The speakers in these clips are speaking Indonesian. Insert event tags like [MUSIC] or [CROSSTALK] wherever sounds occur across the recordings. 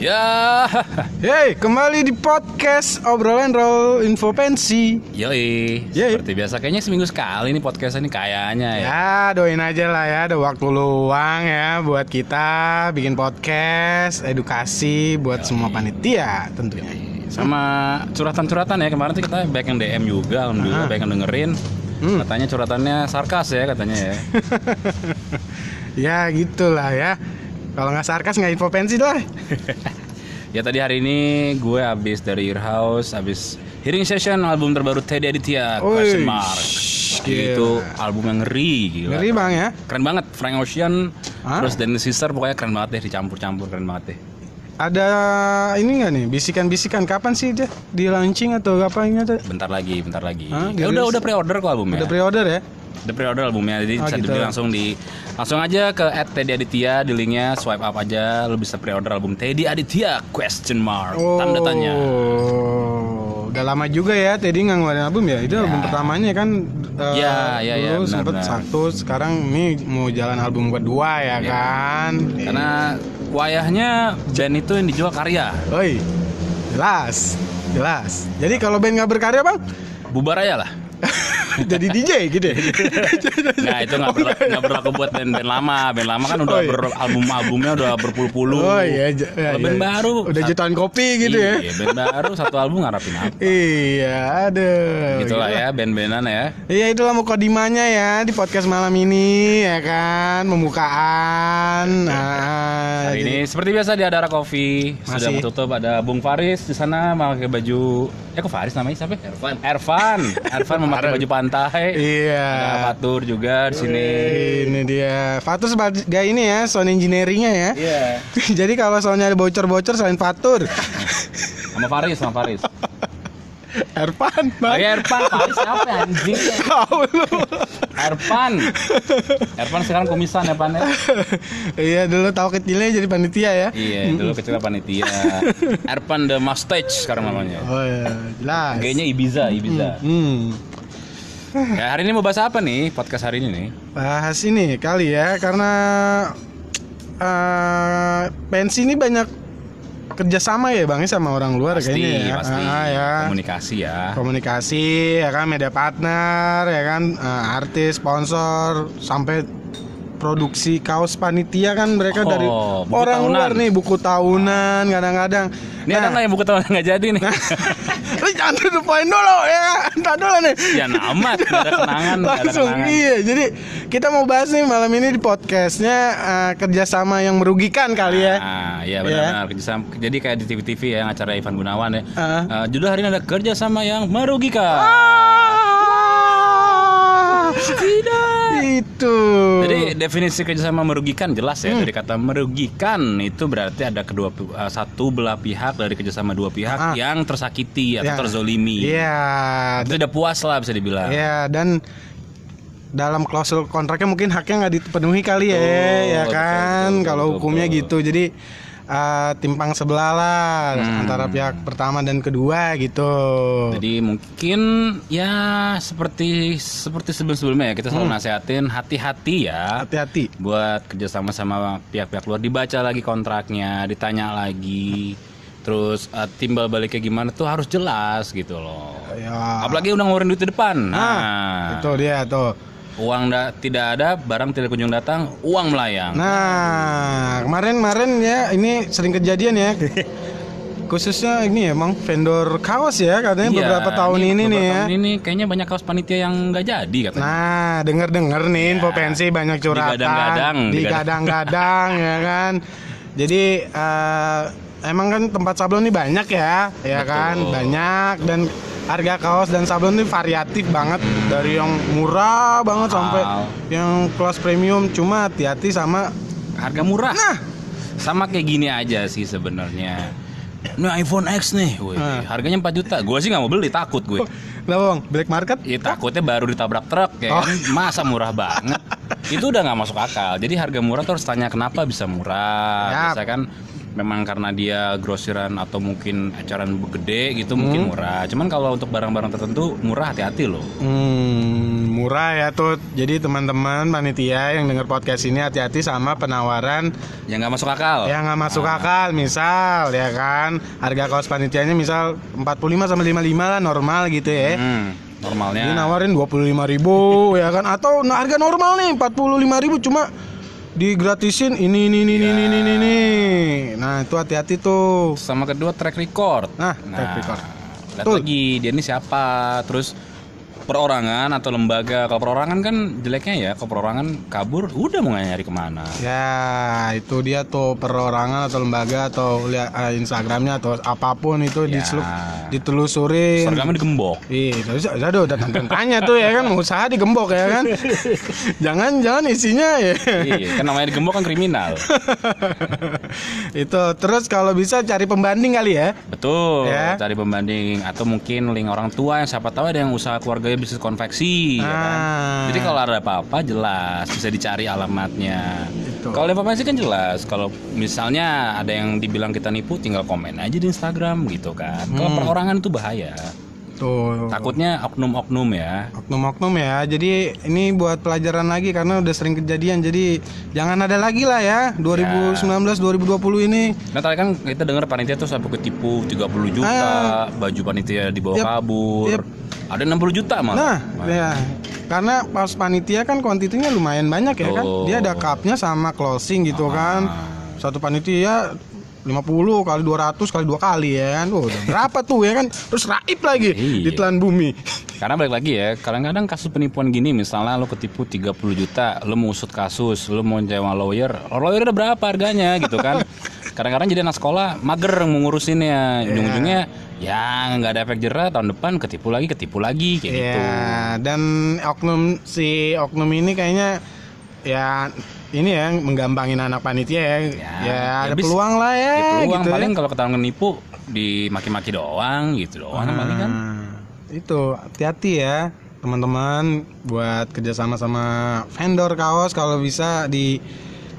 Ya, [LAUGHS] Hey, kembali di podcast obrolan roll info pensi. yoi. Yoi. Seperti biasa, kayaknya seminggu sekali nih podcast ini kayaknya ya. Ya, doain aja lah ya, ada waktu luang ya buat kita bikin podcast, edukasi buat semua panitia tentunya. Sama curhatan-curhatan ya kemarin tuh kita banyak yang DM juga, alhamdulillah Aha. banyak yang dengerin. Hmm. Katanya curhatannya sarkas ya katanya ya. [LAUGHS] [LAUGHS] Ya gitulah ya. Kalau nggak sarkas nggak info pensi lah. ya tadi hari ini gue habis dari Your House, habis hearing session album terbaru Teddy Aditya, question Wih, mark. shh, gila. Itu album yang ngeri, gila. Ngeri bang ya. Keren banget, Frank Ocean, Hah? terus Dennis Sister pokoknya keren banget deh, dicampur-campur keren banget deh. Ada ini nggak nih bisikan-bisikan kapan sih dia di launching atau apa ini ada? Bentar lagi, bentar lagi. Hah, Ya dirilis? udah udah pre-order kok albumnya. Udah pre-order ya? Udah pre-order albumnya jadi Oh, bisa gitu. dibeli langsung di langsung aja ke at Teddy Aditya di linknya swipe up aja lu bisa pre-order album Teddy Aditya question mark tanda tanya Oh, Udah lama juga ya Teddy nggak ngeluarin album ya. Itu album pertamanya kan eh, Ya, ya, ya, dulu benar, sempet benar. satu, sekarang nih mau jalan album kedua ya, kan. karena wayahnya band itu yang dijual karya Oi. Jelas. Jelas. Jadi kalau band nggak berkarya, Bang, [LAUGHS] bubar aja lah jadi DJ gitu ya. [LAUGHS] Nah itu [LAUGHS] nggak berlaku, nggak berlaku buat band-band lama Band lama kan udah iya. Oh, iya. album-albumnya udah berpuluh-puluh Oh iya, ja- ya, Kalau band ya. baru Udah satu- jutaan kopi gitu ya. Iya, band baru satu album ngarapin apa Iya, aduh. Gitulah ya band-bandan ya Iya itulah mukodimanya ya di podcast malam ini ya kan pembukaan. Ah, Iya. Hari jadi- ini seperti biasa di Adara Coffee sudah Masih. menutup ada Bung Faris di sana memakai baju eh kok Faris namanya siapa? Ervan. Ervan. Ervan memakai baju pantai. Iya. Ada Fatur juga di sini. Ini dia. Fatur sebagai ini ya sound engineeringnya ya. Iya. [LAUGHS] Jadi kalau soalnya ada bocor-bocor [LAUGHS] selain Fatur, Sama Faris, sama Faris. Ervan, Oh, Bang. [LAUGHS] ya, Ervan, Faris siapa anjing? Tahu lu. Ervan. Ervan sekarang komisan ya, Pan. ya? iya dulu tahu kecilnya jadi panitia ya. Iya, dulu kecil panitia. Ervan the Mustache sekarang namanya. Oh iya, jelas. Kayaknya Ibiza, Ibiza. Hmm. Ya, hari ini mau bahas apa nih podcast hari ini nih? bahas ini kali ya karena eh pensi ini banyak kerjasama ya bang ya, sama orang luar Pasti, kayaknya ya. pasti. Ah, ya. Komunikasi ya. komunikasi ya kan media partner ya kan eh, artis sponsor sampai produksi kaos panitia kan mereka Oh, dari buku orang luar tahunan. nih buku tahunan kadang-kadang Ini Nah. ada nggak yang buku tahunan nggak jadi nih? [LAUGHS] lu jangan to the point dulu ya entar dulu nih Ya amat, nggak [LAUGHS] ada kenangan, nggak ada langsung kenangan. iya jadi kita mau bahas nih malam ini di podcastnya eh, kerjasama yang merugikan kali ya Ah, iya benar-benar kerjasama. Jadi kayak di TV-TV ya yang acara Ivan Gunawan ya. Ah. Eh, judul hari ini ada kerja sama yang merugikan. Ah, Tidak. itu Jadi definisi kerjasama merugikan jelas Hmm. ya dari kata merugikan itu berarti ada kedua pi- eh, satu belah pihak dari kerjasama dua pihak Ah. yang tersakiti atau Ya. terzolimi. iya Itu udah puas lah bisa dibilang. Iya dan dalam klausul kontraknya mungkin haknya nggak dipenuhi kali ya, Betul, ya betul, kan? betul, Kalau betul, hukumnya betul. gitu, jadi eh, timpang sebelah lah antara pihak pertama dan kedua gitu. Hmm. Jadi mungkin ya seperti seperti sebelum-sebelumnya ya kita selalu Hmm. nasehatin hati-hati ya. Hati-hati. buat kerjasama sama pihak-pihak luar dibaca lagi kontraknya ditanya lagi terus eh, timbal baliknya gimana tuh harus jelas gitu loh Ya, apalagi udah ngeluarin duit di depan Ah. nah, itu dia tuh. uang da- tidak ada barang tidak kunjung datang uang melayang Nah kemarin-kemarin ya ini sering kejadian [LAUGHS] ya. Khususnya ini emang vendor kaos ya katanya Iya, beberapa tahun ini, nih beberapa ya. tahun ini kayaknya banyak kaos panitia yang nggak jadi katanya Nah, denger-denger nih info Iya. pensi banyak curhatan. Digadang-gadang, [LAUGHS] Digadang-gadang ya kan. Jadi eh, emang kan tempat sablon ini banyak ya, ya kan? Banyak dan harga kaos dan sablon ini variatif banget dari yang murah banget sampai Mahal. yang kelas premium cuma hati-hati sama harga murah nah sama kayak gini aja sih sebenarnya ini iPhone X nih, wih, Ah. Oh. harganya 4 juta. Gue sih nggak mau beli, takut gue. lah bang black market Ya takutnya baru ditabrak truk Oh. ya kan? Masa murah [LAUGHS] banget Itu udah nggak masuk akal Jadi harga murah tuh harus tanya kenapa bisa murah Yap. Bisa kan memang karena dia grosiran atau mungkin acaran gede gitu mungkin murah. Cuman kalau untuk barang-barang tertentu murah hati-hati loh. Hmm, murah ya tuh. Jadi teman-teman panitia yang dengar podcast ini hati-hati sama penawaran Yang Ya nggak masuk akal. yang nggak masuk akal. Misal ya kan, harga kaos panitianya misal 45 sama 55 lah normal gitu ya. Hmm, normalnya. Jadi nawarin 25.000 ya kan atau nah, harga normal nih 45.000 cuma digratisin ini ini ini ini ini ini. ini. Nah, itu hati-hati tuh. sama kedua track record. Nah, track record. Lihat Betul. lagi dia ini siapa, terus perorangan atau lembaga. Kalau perorangan kan jeleknya ya, kalau perorangan kabur udah mau nyari kemana. Ya, itu dia tuh perorangan atau lembaga atau lihat eh, Instagramnya atau apapun itu Ya. diseluk, ditelusurin. Seragamnya digembok. Iya, bisa aduh udah tanya tuh ya kan mau usaha digembok ya [LAUGHS] kan. jangan jangan isinya ya. iya, kan namanya digembok kan kriminal. itu terus kalau bisa cari pembanding kali ya. Betul, Ya. cari pembanding atau mungkin link orang tua yang siapa tahu ada yang usaha keluarganya bisnis konveksi. ya kan? Ah. Jadi kalau ada apa-apa jelas bisa dicari alamatnya. Betul. Kalau informasi kan jelas. Kalau misalnya ada yang dibilang kita nipu, tinggal komen aja di Instagram gitu kan. Kalau Hmm. perorangan itu bahaya. Tuh. Takutnya oknum-oknum ya. Oknum-oknum ya. Jadi ini buat pelajaran lagi karena udah sering kejadian. Jadi jangan ada lagi lah ya 2019 2020 ini. Nah tadi kan kita dengar panitia tuh sampai ketipu 30 juta, Ah. baju panitia dibawa Yap, kabur. yap. Ada 60 juta malah. Nah, ya. Karena pas panitia kan kuantitinya lumayan banyak ya kan. Tuh. Dia ada cupnya sama Ah. closing gitu kan. Satu panitia 50 kali 200 kali dua kali ya kan. Oh, udah berapa tuh ya kan? Terus raib lagi Iya. di telan bumi. Karena balik lagi ya, kadang-kadang kasus penipuan gini misalnya lo ketipu 30 juta, lo mau usut kasus, lo mau nyewa lawyer, lawyer udah berapa harganya gitu [LAUGHS] kan. Kadang-kadang jadi anak sekolah mager Iya. mengurusinnya, ujung-ujungnya ya nggak ada efek jerah tahun depan ketipu lagi, ketipu lagi kayak gitu. Ya, dan oknum si oknum ini kayaknya ya ini ya menggampangin anak panitia ya. Ya, ada habis- peluang lah ya, Ya, peluang gitu. ya. paling kalau ketahuan nipu dimaki-maki doang gitu doang paling kan. Nah, itu hati-hati ya teman-teman buat kerjasama sama vendor kaos kalau bisa di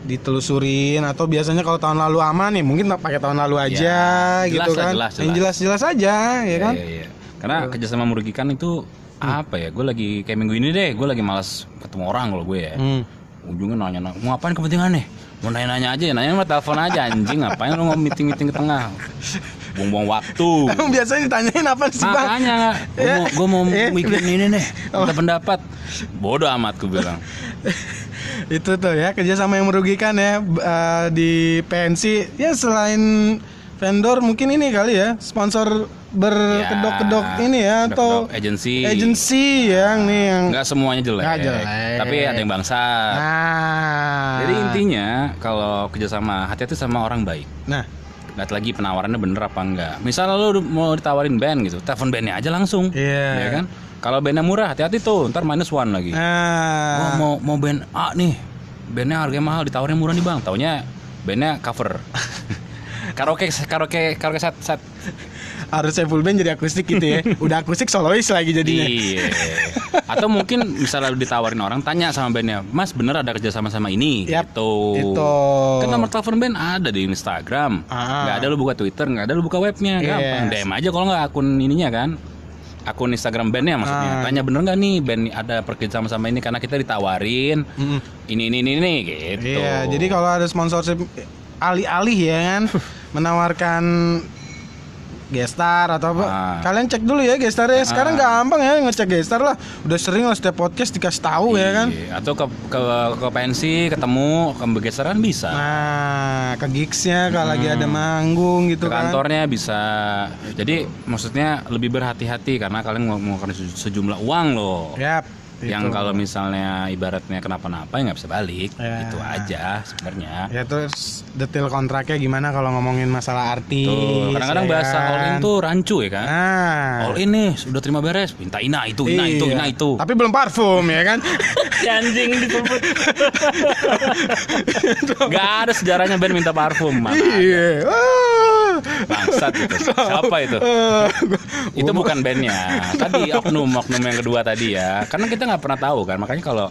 ditelusurin atau biasanya kalau tahun lalu aman ya mungkin pakai tahun lalu aja Ya, gitu jelas lah, kan jelas, yang jelas-jelas aja ya kan Hmm. Iya, iya. Karena kerjasama merugikan itu apa ya? Gue lagi kayak minggu ini deh, gue lagi malas ketemu orang kalau gue ya. Hmm. ujungnya nanya nanya mau ngapain kepentingan nih mau nanya nanya aja nanya mah telepon aja anjing ngapain lu mau meeting meeting ke tengah buang-buang waktu Emang biasanya ditanyain apa sih Hmm. bang? Oh. makanya gue mau, gua mau Eh, bikin ini nih minta pendapat bodoh amat gue bilang [LAUGHS] itu tuh ya kerjasama yang merugikan ya b- eh, di pensi ya selain vendor mungkin ini kali ya sponsor berkedok-kedok Eh, ini ya atau kedok-kedok agensi agency yang nih yang nggak semuanya jelek, Nggak jelek. tapi ada yang bangsa nah jadi intinya kalau kerjasama hati-hati sama orang baik nah lihat lagi penawarannya bener apa enggak misalnya lo mau ditawarin band gitu telepon bandnya aja langsung Iya. ya kan kalau bandnya murah hati-hati tuh ntar minus one lagi Wah, nah mau mau band A nih bandnya harganya mahal ditawarin murah nih bang taunya bandnya [LAUGHS] cover karaoke karaoke karaoke set set harusnya full band jadi akustik gitu [LAUGHS] ya udah akustik solois lagi jadinya iya [LAUGHS] atau mungkin misalnya ditawarin orang tanya sama bandnya mas bener ada kerja sama sama ini Yap, gitu itu. kan nomor telepon band ada di Instagram Ah. Iya. nggak ada lu buka Twitter nggak ada lu buka webnya gampang Yes. DM aja kalau nggak akun ininya kan akun Instagram bandnya Ah. maksudnya tanya bener nggak nih band ada kerja sama sama ini karena kita ditawarin Mm-mm. ini ini ini, ini gitu Iya, jadi kalau ada sponsorship eh, alih-alih ya kan menawarkan gestar atau apa, Ah. kalian cek dulu ya gestarnya. Sekarang gampang ya ngecek gestar lah. Udah sering lah setiap podcast dikasih tahu ya kan. Iya, Atau ke ke ke pensi ketemu ke begeseran bisa. Nah, ke gigsnya kalau lagi ada manggung gitu Hmm. Ke kan. kantornya bisa. Jadi maksudnya lebih berhati-hati karena kalian mau mengeluarkan se- sejumlah uang loh. Yap. Yang itu. kalau misalnya ibaratnya kenapa-napa ya nggak bisa balik. gitu. Ya. Itu aja sebenarnya. Ya terus detail kontraknya gimana kalau ngomongin masalah artis. Tuh, kadang-kadang ya bahasa kan? all in tuh rancu ya kan. Nah. All in nih, sudah terima beres, minta ina itu, ina itu, Iya. ina itu. Tapi belum parfum ya kan. [LAUGHS] anjing [LAUGHS] ditumpuk. Gak ada sejarahnya band minta parfum, mana. Iya. Ah. Bangsat itu. Siapa [LAUGHS] itu? Eh, itu bukan bandnya tadi oknum oknum yang kedua tadi ya karena kita nggak pernah tahu kan makanya kalau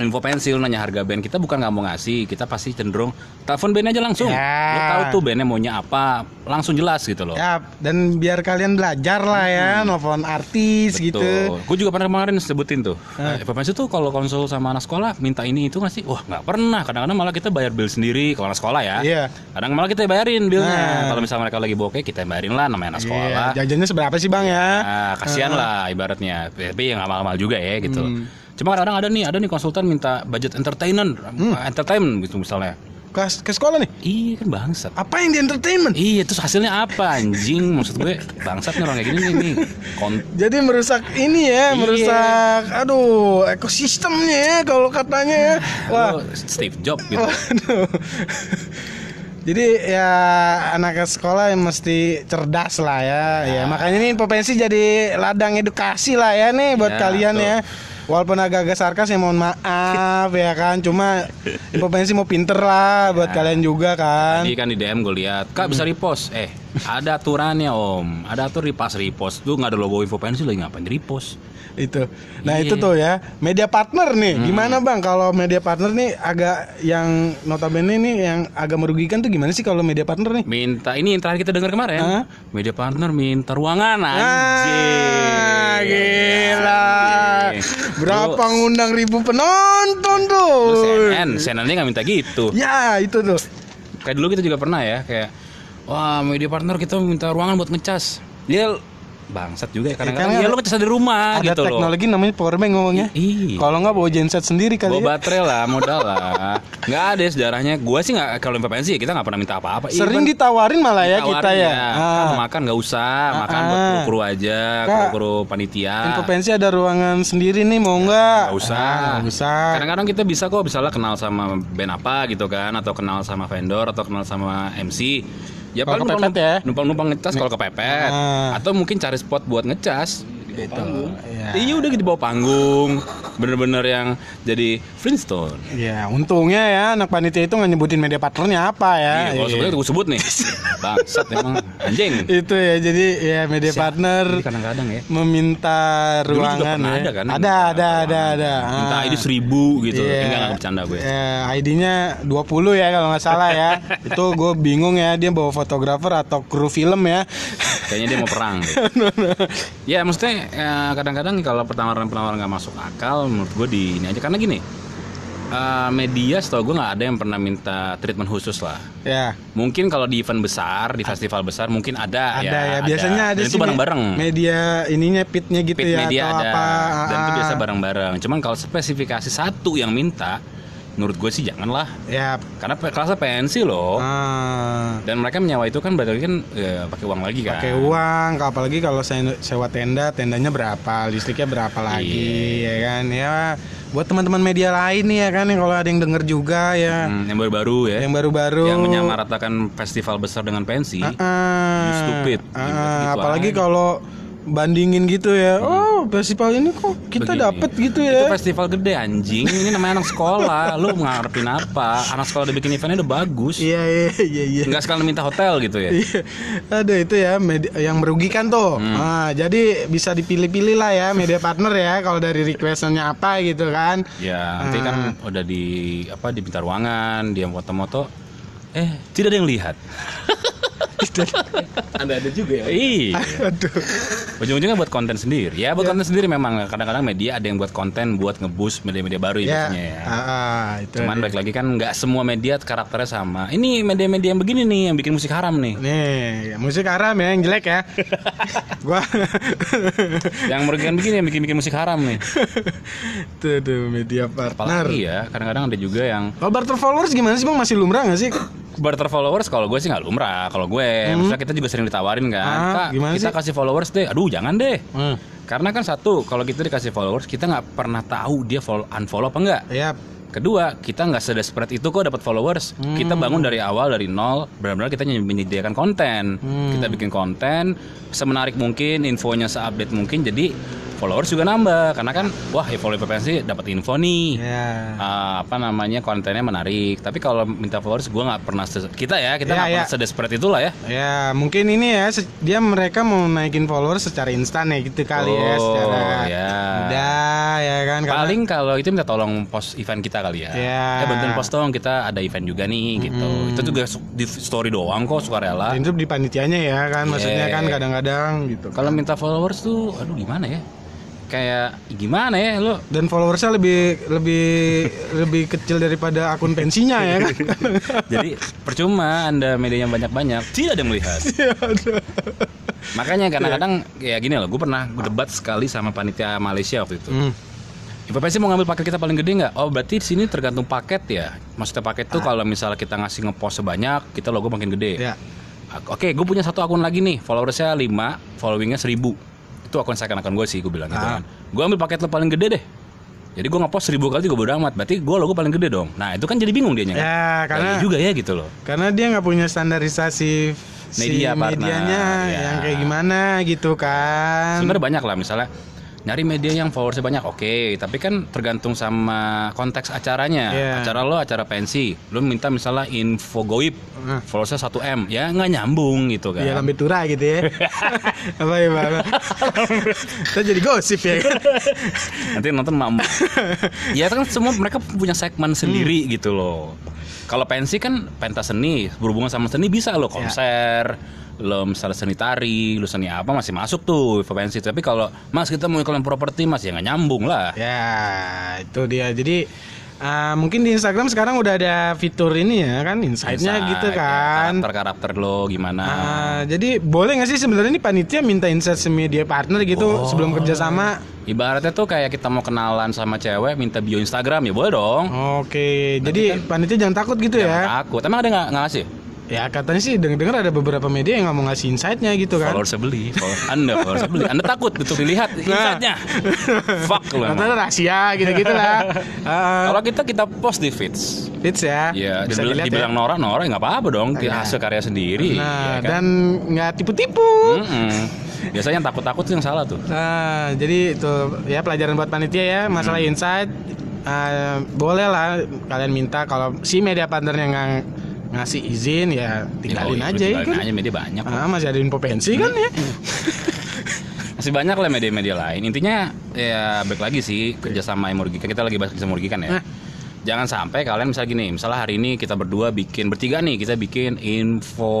info pensil nanya harga band kita bukan nggak mau ngasih kita pasti cenderung telepon band aja langsung Ya. lo tahu tuh bandnya maunya apa langsung jelas gitu loh Ya, dan biar kalian belajar lah ya, Hmm. nelfon artis gitu. Gue juga pernah kemarin sebutin tuh. Eh, Bapak Pensi tuh kalau konsul sama anak sekolah minta ini itu nggak sih? Wah nggak pernah. Kadang-kadang malah kita bayar bill sendiri kalau anak sekolah ya. Iya. Kadang malah kita bayarin billnya. Nah. Kalau misalnya mereka lagi bokeh kita yang bayarin lah namanya anak sekolah. Iya, jajannya seberapa sih bang ya? Ah, kasihan lah ibaratnya. Tapi yang mahal-mahal juga ya gitu. Cuma kadang-kadang ada nih, ada nih konsultan minta budget entertainment, entertainment gitu misalnya. Ke, ke sekolah nih? Iya kan bangsat. Apa yang di entertainment? Iya, terus hasilnya apa anjing? Maksud gue bangsat nih orang kayak gini nih. nih. Kon- Jadi merusak ini ya, Iya. merusak, aduh, ekosistemnya ya kalau katanya ya. Wah, Lo Steve Jobs gitu. Waduh. Jadi ya anak sekolah yang mesti cerdas lah ya. Ya, makanya ini potensi jadi ladang edukasi lah ya nih buat Ya, kalian betul. ya. Walaupun agak-agak sarkas ya mohon maaf ya kan. Cuma potensi mau pinter Ya. lah buat kalian juga kan. Tadi kan di DM gue lihat, kak bisa repost. Eh, ada aturannya om. Ada atur di pas repost. Lu nggak ada logo info pensi lagi ngapain di repost? Itu. Nah, Iya. Hmm. itu tuh ya. Media partner nih. Gimana Bang kalau media partner nih agak yang notabene nih yang agak merugikan tuh gimana sih kalau media partner nih? Minta ini yang terakhir kita dengar kemarin. Hah? Media partner minta ruangan Ah, anjing. gila. Anjing. Berapa Iya, Lu- ngundang ribu penonton tuh. Lu CNN, CNN nya nggak minta gitu. Ya, itu tuh. Kayak dulu kita juga pernah ya, kayak wah media partner kita minta ruangan buat ngecas. Dia bangsat juga ya kadang-kadang. Iya, karena Ya, lu ngecas dari rumah Ada gitu loh. teknologi namanya power bank ngomongnya. Iya. Kalau nggak bawa genset sendiri Bawa kali ya. baterai lah, modal lah. Nggak ada ya sejarahnya. Gua sih nggak kalau MPPN sih kita nggak pernah minta apa-apa. Even Sering ditawarin malah iya, ya ditawarin kita ya. Kan Ah. mau makan nggak usah, makan buat Ah. kru-kru aja, Kak, kru-kru panitia. Info pensi ada ruangan sendiri nih mau nggak? Nah, Nggak usah. Ah, nggak usah. Kadang-kadang kita bisa kok misalnya kenal sama band apa gitu kan, atau kenal sama vendor, atau kenal sama MC. Ya Kalau paling kepepet numpang, ya. numpang-numpang ngecas kalau kepepet, Ah. atau mungkin cari spot buat ngecas. Di bawah panggung. Iya. Iya udah di bawah panggung, bener-bener yang jadi Flintstone. Ya, untungnya ya anak panitia itu nggak nyebutin media partnernya apa ya. Iya, kalau Iya. sebutnya gue sebut [LAUGHS] nih. Bangsat emang anjing. Itu ya, jadi ya media partner Ini kadang-kadang ya. meminta Dulu juga ruangan pernah ya. ada kan? yang ada, minta ada, ada, ruangan. ada. Minta Ah. ID seribu gitu. Iya. Enggak enggak bercanda gue. Eh, ID-nya 20 ya kalau nggak salah [LAUGHS] ya. itu gue bingung ya dia bawa fotografer atau kru film ya. [LAUGHS] Kayaknya dia mau perang. deh. ya maksudnya eh, kadang-kadang kalau penawaran-penawaran nggak masuk akal, menurut gue di ini aja karena gini. eh, media setahu gue nggak ada yang pernah minta treatment khusus lah. ya. Mungkin kalau di event besar, di festival besar mungkin Ah, ada, Ada ya, biasanya ada, Dan sih itu bareng-bareng. me- Media ininya pitnya gitu Pit ya media atau ada apa. dan itu ah, biasa ah. bareng-bareng. Cuman kalau spesifikasi satu yang minta, menurut gue sih janganlah. Ya. Karena pe- kelasnya PNC loh. ah, Dan mereka menyewa itu kan berarti kan ya, pakai uang lagi kan. pakai uang apalagi kalau saya sewa tenda tendanya berapa listriknya berapa lagi Iya. ya kan ya buat teman-teman media lain nih ya kan yang kalau ada yang denger juga ya Hmm, yang baru-baru ya. yang baru-baru Yang menyamaratakan festival besar dengan pensi. Ah, You stupid. ah, You begitu apalagi aja. Hmm. kalau bandingin gitu ya. Oh, festival ini kok kita Begini. dapet gitu Itu ya. festival gede anjing. Ini namanya anak sekolah. Lu ngarepin apa? Anak sekolah udah bikin eventnya udah bagus. Iya iya iya iya. [LAUGHS] Enggak sekalian minta hotel gitu ya. Iya. Aduh itu ya medi- yang merugikan tuh. Hmm. Ah, jadi bisa dipilih-pilih lah ya media partner ya kalau dari requestannya apa gitu kan. Ya, nanti kan Ah. udah di apa di pintar ruangan, dia foto-foto. Eh, tidak ada yang lihat. Anda ada juga ya. Iya. Aduh. Ujung-ujungnya buat konten sendiri. Ya, Iya. buat konten sendiri memang kadang-kadang media ada yang buat konten buat ngebus media-media baru ya, Ya. biasanya ya. ah, ah, itu. Cuman balik lagi kan nggak semua media karakternya sama. Ini media-media yang begini nih yang bikin musik haram nih. Nih, musik haram ya yang jelek [LAUGHS] ya. Gua Yang merugikan begini yang bikin-bikin musik haram nih. tuh tuh media partner. Apalagi ya, kadang-kadang ada juga yang Kalau barter followers gimana sih Bang? Masih lumrah gak sih? barter followers kalau gue sih nggak lumrah. Kalau gue, misalnya kita juga sering ditawarin kan, Hmm. Ah, Kak, gimana kita sih?" kasih followers deh. Aduh, jangan deh. Hmm. Karena kan satu, kalau kita dikasih followers, kita nggak pernah tahu dia follow unfollow apa enggak. Ya, Kedua, kita nggak sedesperate itu kok dapat followers. Kita Hmm. bangun dari awal dari nol, benar-benar kita menyediakan Hmm. konten. Kita bikin konten semenarik mungkin, infonya seupdate mungkin. Jadi followers juga nambah karena kan wah ya follow PPNC dapat info nih Ya. Ah, apa namanya kontennya menarik tapi kalau minta followers gue nggak pernah se- kita ya kita Iya, nggak iya. pernah sedesperate itulah ya Ya, mungkin ini ya se- dia mereka mau naikin followers secara instan ya gitu kali ya Oh, secara ya. mudah ya kan karena- paling kalau itu minta tolong post event kita kali ya Iya. Hmm. eh bantuin post dong kita ada event juga nih gitu itu juga su- di story doang kok suka rela itu di panitianya ya kan maksudnya Yeah. kan kadang-kadang gitu. kalau minta followers tuh aduh gimana ya kayak gimana ya lo Dan followersnya lebih lebih lebih kecil daripada akun pensinya ya kan. [LAUGHS] jadi percuma anda medianya banyak-banyak tidak ada yang melihat Iya, makanya kadang-kadang ya gini loh gue pernah debat sekali sama panitia Malaysia waktu itu Hmm. IPPC mau ngambil paket kita paling gede nggak? Oh berarti di sini tergantung paket ya. Maksudnya paket tuh kalau misalnya kita ngasih ngepost sebanyak, kita logo makin gede. Ah. Ya. Ak- Oke, gue punya satu akun lagi nih, followersnya 5, followingnya 1000 Itu akun seakan-akan gue sih, gue bilang gitu kan. Ah. Gue ambil paket lo paling gede deh. Jadi gue ngepost 1000 kali juga bodo amat. Berarti gue logo paling gede dong. Nah itu kan jadi bingung dia kan. Ya, Ya, iya karena juga ya gitu loh. karena dia nggak punya standarisasi si Media partner, medianya ya. yang kayak gimana gitu kan. Sebenarnya banyak lah misalnya nyari media yang followersnya banyak oke tapi kan tergantung sama konteks acaranya Iya. acara lo acara pensi lo minta misalnya info goib Nah. followersnya 1 m ya nggak nyambung gitu kan Iya lambe tura gitu [LAUGHS] ya. apa ya, Pak? Kita jadi gosip ya kan. nanti nonton mama [LAUGHS] ya kan semua mereka punya segmen sendiri Hmm. gitu loh kalau pensi kan pentas seni berhubungan sama seni bisa Iya. lo konser lo misalnya seni tari lo seni apa masih masuk tuh info pensi tapi kalau mas kita mau iklan properti mas ya nggak nyambung lah Ya, itu dia. Jadi ah, mungkin di Instagram sekarang udah ada fitur ini ya kan, insight-nya Insight, gitu ya, kan. karakter-karakter lo gimana Ah, jadi boleh nggak sih sebenarnya ini panitia minta insight si media Oh. partner gitu sebelum kerjasama? Ibaratnya tuh kayak kita mau kenalan sama cewek minta bio Instagram ya boleh dong. Oke, jadi panitia jangan takut gitu ya. kan Takut. Emang ada nggak nggak ngasih? Ya katanya sih denger-denger ada beberapa media yang nggak mau ngasih insight-nya gitu kan. Follower sebeli. Follower. Anda follower sebeli. Anda takut untuk dilihat Nah. insightnya. Fuck lu emang. Katanya rahasia gitu-gitu [LAUGHS] lah. Ah, Kalau kita kita post di feeds, Fits ya. ya bisa dibilang, dilihat ya. dibilang Nora Nora nggak apa-apa dong. Hasil karya sendiri. ya Nah, kan? dan nggak tipu-tipu. Mm-mm. Biasanya yang takut-takut tuh yang salah tuh. Nah, jadi itu ya pelajaran buat panitia ya masalah Hmm. insight. eh, boleh lah kalian minta kalau si media partnernya nggak ngasih izin ya tinggalin Ya, aja ya tinggalin kan. aja media banyak. Ah, masih ada info pensi kan ya. Hmm. Masih banyak lah media-media lain. Intinya ya baik lagi sih kerjasama yang merugikan. Kita lagi bahas kerjasama merugikan ya. Nah. Jangan sampai kalian misalnya gini, misalnya hari ini kita berdua bikin bertiga nih, kita bikin info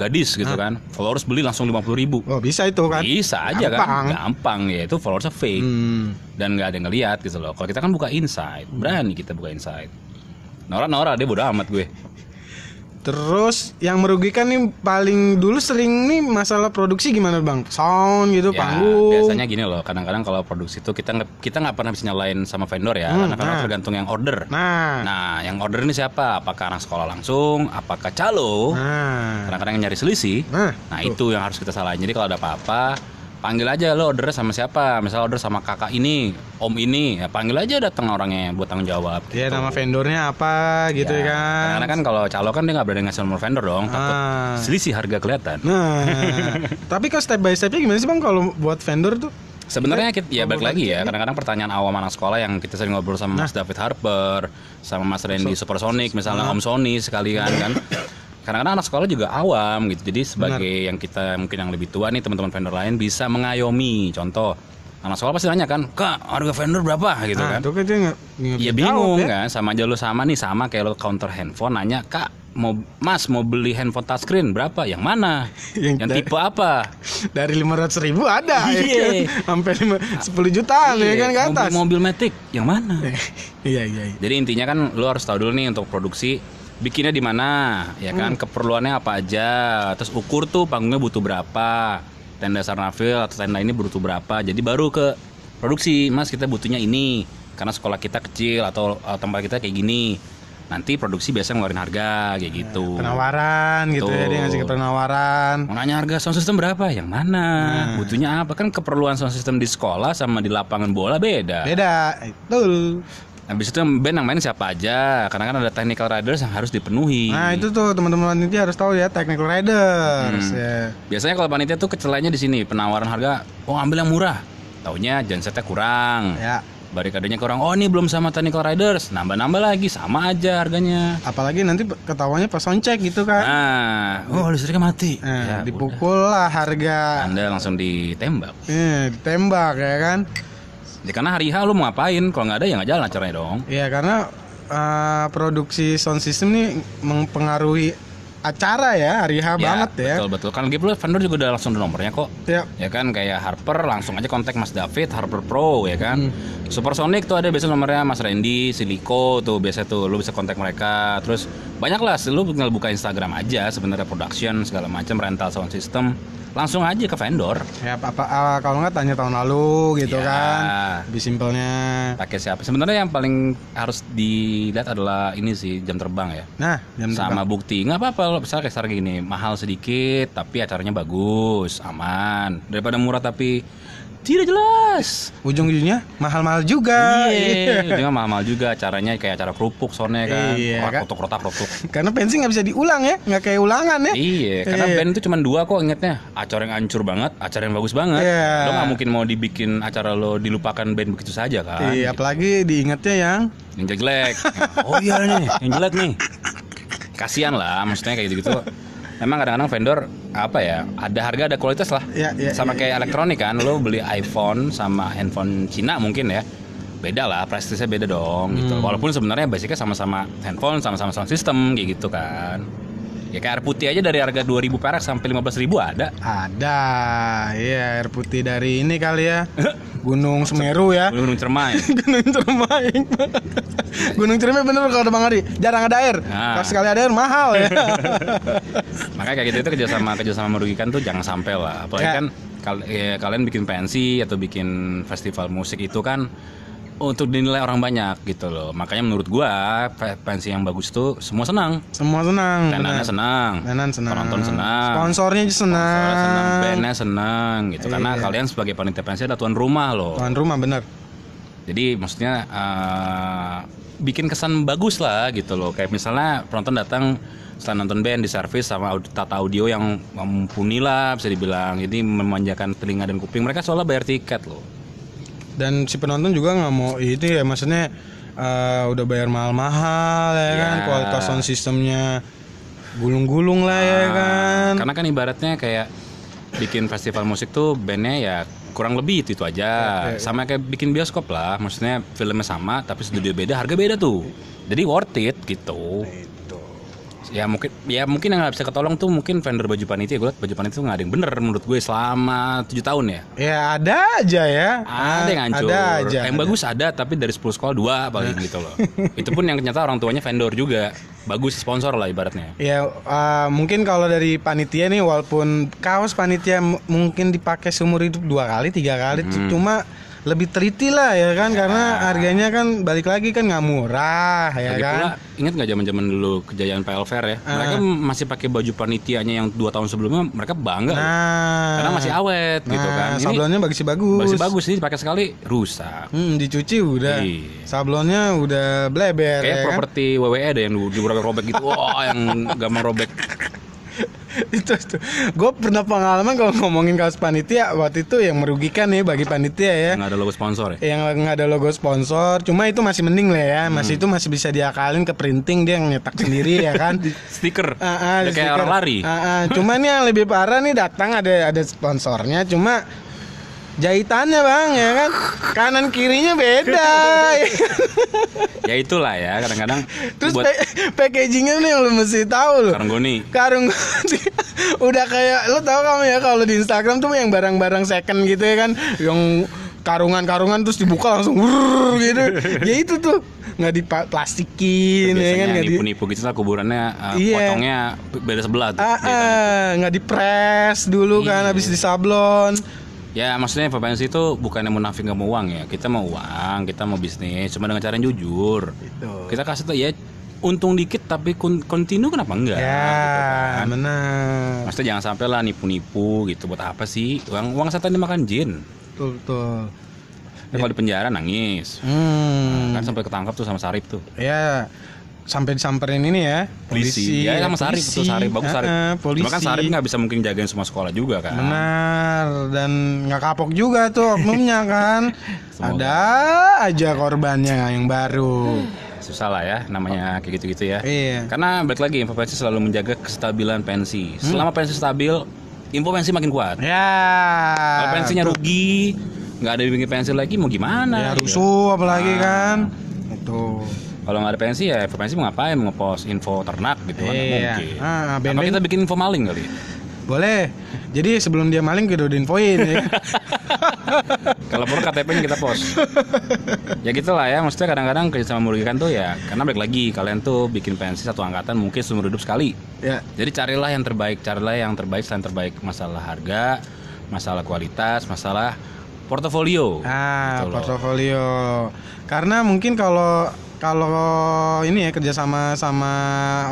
gadis gitu kan. Followers beli langsung 50.000 ribu. Oh, bisa itu Nah. kan. Bisa aja Gampang. kan, gampang ya itu followersnya fake Hmm. dan nggak ada yang ngeliat gitu loh. Kalau kita kan buka insight, berani kita buka insight. Nora Nora dia bodo amat gue. Terus yang merugikan nih paling dulu sering nih masalah produksi gimana Bang? Sound gitu, Ya, panggung. biasanya gini loh, kadang-kadang kalau produksi itu kita nggak- kita nggak pernah bisa nyalain sama vendor ya, karena karena nah. tergantung yang order. Nah. Nah, yang order ini siapa? Apakah anak sekolah langsung? Apakah calo? Nah. Kadang-kadang yang nyari selisih. Nah, uh. Nah, itu yang harus kita salahin. Jadi kalau ada apa-apa, panggil aja lo ordernya sama siapa. Misalnya order sama kakak ini, om ini, ya panggil aja datang orangnya buat tanggung jawab. Dia nama vendornya apa Iya, gitu ya, kan. Karena kan kalau calo kan dia nggak berani ngasih nomor vendor dong, nah, takut Ah. selisih harga kelihatan. [LAUGHS] Nah, tapi kalau step by stepnya gimana sih bang kalau buat vendor tuh? Sebenarnya kita ya balik lagi ya. Kadang-kadang pertanyaan awam anak sekolah yang kita sering ngobrol Nah. sama Mas David Harper, sama Mas Randy Supersonic, misalnya Nah. Om Sony sekalian kan. Kadang-kadang anak sekolah juga awam gitu. Jadi sebagai yang kita mungkin yang lebih tua nih teman-teman vendor lain bisa mengayomi. Contoh, anak sekolah pasti nanya kan, "Kak, harga vendor berapa?" gitu Nah, kan. itu kan dia nggak nggak Ya bisa bingung jawab ya. kan, sama aja lu sama nih, sama kayak lu counter handphone nanya, "Kak, mau Mas mau beli handphone touchscreen berapa? Yang mana? [LAUGHS] Yang yang da- tipe apa?" Dari lima ratus ribu ada, ya [LAUGHS] Iya. kan? sampai lima sepuluh jutaan ya kan ke Iya, atas. Mobil, mobil matic, yang mana? [LAUGHS] Iya iya. iya. Jadi intinya kan lu harus tahu dulu nih untuk produksi bikinnya di mana, ya kan keperluannya apa aja, terus ukur tuh panggungnya butuh berapa, tenda Sarnafil atau tenda ini butuh berapa. Jadi baru ke produksi, Mas kita butuhnya ini karena sekolah kita kecil atau uh, tempat kita kayak gini. Nanti produksi biasa ngeluarin harga kayak gitu. Penawaran gitu ya dia ngasih ke penawaran. Mau nanya harga sound system berapa? Yang mana? Butuhnya apa? Kan keperluan sound system di sekolah sama di lapangan bola beda. Beda, betul. Habis itu yang band yang main siapa aja? Karena kan ada technical riders yang harus dipenuhi. Nah itu tuh teman-teman panitia harus tahu ya technical riders. Ya. Hmm. Biasanya kalau panitia tuh kecelainya di sini, penawaran harga, oh ambil yang murah. taunya gensetnya kurang ya barikadenya kurang oh ini belum sama Technical Riders nambah-nambah lagi sama aja harganya apalagi nanti ketawanya pas sound check gitu kan nah oh listriknya mati nah, Ya, dipukul lah harga anda langsung ditembak eh, ditembak ya kan ya, karena hari H lu mau ngapain kalau nggak ada ya nggak jalan acaranya dong ya karena eh, produksi sound system nih mempengaruhi acara ya hari H banget ya betul betul kan lagi pula vendor juga udah langsung ada nomornya kok ya ya kan kayak Harper langsung aja kontak Mas David Harper Pro ya kan Hmm. Supersonic tuh ada biasa nomornya Mas Randy Siliko tuh biasa tuh lu bisa kontak mereka terus banyak lah lu tinggal buka Instagram aja sebenarnya production segala macam rental sound system langsung aja ke vendor ya apa, apa- ah, kalau nggak tanya tahun lalu gitu Ya. kan lebih simpelnya pakai siapa sebenarnya yang paling harus dilihat adalah ini sih jam terbang ya nah jam sama bukti nggak apa-apa lo misalnya kayak sekarang gini mahal sedikit tapi acaranya bagus aman daripada murah tapi tidak jelas ujung-ujungnya mahal-mahal juga Iya, juga mahal-mahal juga caranya kayak acara kerupuk soalnya kan. Iya, Iya, kan? rotok rotak rotok. [LAUGHS] karena pensi nggak bisa diulang ya nggak kayak ulangan ya iya, karena Iya. band itu cuma dua kok ingetnya. Acara yang hancur banget, acara yang bagus banget. Iya. Lo nggak mungkin mau dibikin acara lo dilupakan band begitu saja kan. Iya, apalagi diingatnya yang Yang jelek. [LAUGHS] oh iya nih, yang jelek nih. Kasian lah, maksudnya kayak gitu-gitu. Emang kadang-kadang vendor apa ya, ada harga ada kualitas lah. Iya, iya, sama kayak elektronik kan, lo beli iPhone sama handphone Cina mungkin ya. Beda lah, prestisnya beda dong gitu. Walaupun sebenarnya basicnya sama-sama handphone, sama-sama sound system kayak gitu kan. Ya kayak air putih aja dari harga 2000 perak sampai 15.000 ada. ada iya air putih dari ini kali [LAUGHS] ya Gunung Semeru ya Gunung Cermai. Gunung Cermai [LAUGHS] Gunung Cermai bener kalau Bang Ari jarang ada air Nah. kalau sekali ada air mahal [LAUGHS] ya Makanya kayak gitu itu kerjasama kerjasama merugikan tuh jangan sampai lah. Apalagi Ya. kan kal- ya, kalian bikin pensi atau bikin festival musik itu kan untuk dinilai orang banyak gitu loh. Makanya menurut gua pe- pensi yang bagus tuh semua senang, semua senang tenannya bener. senang, Tenan senang penonton senang. sponsornya juga Soalnya senang, senang bandnya senang gitu. Karena Iya. kalian sebagai panitia pensi ada tuan rumah loh. tuan rumah bener Jadi maksudnya eh, bikin kesan bagus lah gitu loh. Kayak misalnya penonton datang setelah nonton band di servis sama aud- tata audio yang mumpuni lah bisa dibilang. Jadi memanjakan telinga dan kuping mereka soalnya bayar tiket loh. dan si penonton juga nggak mau itu ya maksudnya eh, udah bayar mahal-mahal ya kan Ya. kualitas sound systemnya gulung-gulung lah ya Ah. kan Nah, Karena kan ibaratnya kayak bikin festival musik tuh bandnya ya kurang lebih itu, itu aja. Sama kayak bikin bioskop lah. Maksudnya filmnya sama tapi studio beda, harga beda tuh. Jadi worth it gitu. ya mungkin ya mungkin yang nggak bisa ketolong tuh mungkin vendor baju panitia gue liat baju panitia tuh nggak ada yang bener menurut gue selama tujuh tahun ya ya ada aja ya ada yang hancur ada aja yang bagus ada tapi dari 10 sekolah dua [LAUGHS] paling gitu loh itu pun yang ternyata orang tuanya vendor juga bagus sponsor lah ibaratnya Ya eh, mungkin kalau dari panitia nih walaupun kaos panitia m- mungkin dipakai seumur hidup dua kali tiga kali Hmm. c- cuma lebih teliti lah ya kan karena harganya kan balik lagi kan nggak murah ya lagi kan Ah. pula ingat nggak zaman zaman dulu kejayaan PL Fair ya mereka masih pakai baju panitianya yang dua tahun sebelumnya mereka bangga loh. nah karena masih awet gitu nah, kan ini sablonnya bagus bagus masih bagus ini dipakai sekali rusak Hmm, dicuci udah Iya. sablonnya udah bleber kayak ya kan? [LAUGHS] properti WWE ada yang dirobek-robek gitu wah yang gampang robek itu itu gue pernah pengalaman kalau ngomongin kaos panitia waktu itu yang merugikan nih bagi panitia ya nggak ada logo sponsor ya yang nggak ada logo sponsor cuma itu masih mending lah ya masih Hmm. itu masih bisa diakalin ke printing dia yang nyetak sendiri ya [LAUGHS] kan stiker Ah, ah, Udah kayak stiker. orang lari Ah, ah. cuma nih yang lebih parah nih datang ada ada sponsornya cuma jahitannya bang ya kan kanan kirinya [LAUGHS] beda [LAUGHS] ya itulah ya kadang-kadang terus buat pa- packagingnya nih yang lu mesti tahu loh karanggoni karung kunci. [LAUGHS] udah kayak lo tau kamu ya kalau di Instagram tuh yang barang-barang second gitu ya kan yang karungan-karungan terus dibuka langsung wrrr [LAUGHS] gitu ya itu tuh nggak diplastikin ya kan biasanya nggak yang di nipu-nipu gitu lah kuburannya uh, Iya. potongnya beda sebelah tuh ah jahitannya. ah, nggak dipres dulu Iya. kan habis disablon ya maksudnya PPNC itu bukannya munafik nggak mau uang ya kita mau uang kita mau bisnis cuma dengan cara yang jujur kita kasih tuh ya untung dikit tapi kun- kontinu kenapa enggak ya benar Maksudnya jangan sampai lah nipu-nipu gitu buat apa sih uang uang setan dimakan jin betul betul Nah, kalau di penjara nangis Ya. hmm kan sampai ketangkap tuh sama Sarip tuh ya sampai disamperin ini ya polisi, ya sama Sarip tuh polisi. Sarip bagus Sarip Ah, ah, polisi Cuma kan Sarip nggak bisa mungkin jagain semua sekolah juga kan benar dan nggak kapok juga tuh oknumnya [LAUGHS] kan Semoga. ada aja korbannya yang baru susah lah ya namanya kayak gitu-gitu ya Iya. karena balik lagi info pensi selalu menjaga kestabilan pensi selama pensi stabil info pensi makin kuat ya kalau pensinya rugi nggak ada bimbingan pensi lagi mau ya gimana gitu. rusuh apalagi Ah. kan itu kalau nggak ada pensi ya info pensi mau ngapain mau ngepost info ternak gitu kan nggak Iya. mungkin Ah, ah, apa band-band. kita bikin info maling kali boleh jadi sebelum dia maling kita udah infoin [LAUGHS] ya kalau perlu KTP-nya kita [LAUGHS] post ya gitulah ya maksudnya kadang-kadang kerjasama merugikan tuh ya karena balik lagi kalian tuh bikin pensi satu angkatan mungkin seumur hidup sekali ya Jadi carilah yang terbaik, carilah yang terbaik selain terbaik masalah harga, masalah kualitas, masalah portofolio. Ah, Gitu loh. portofolio. Karena mungkin kalau kalau ini ya kerjasama sama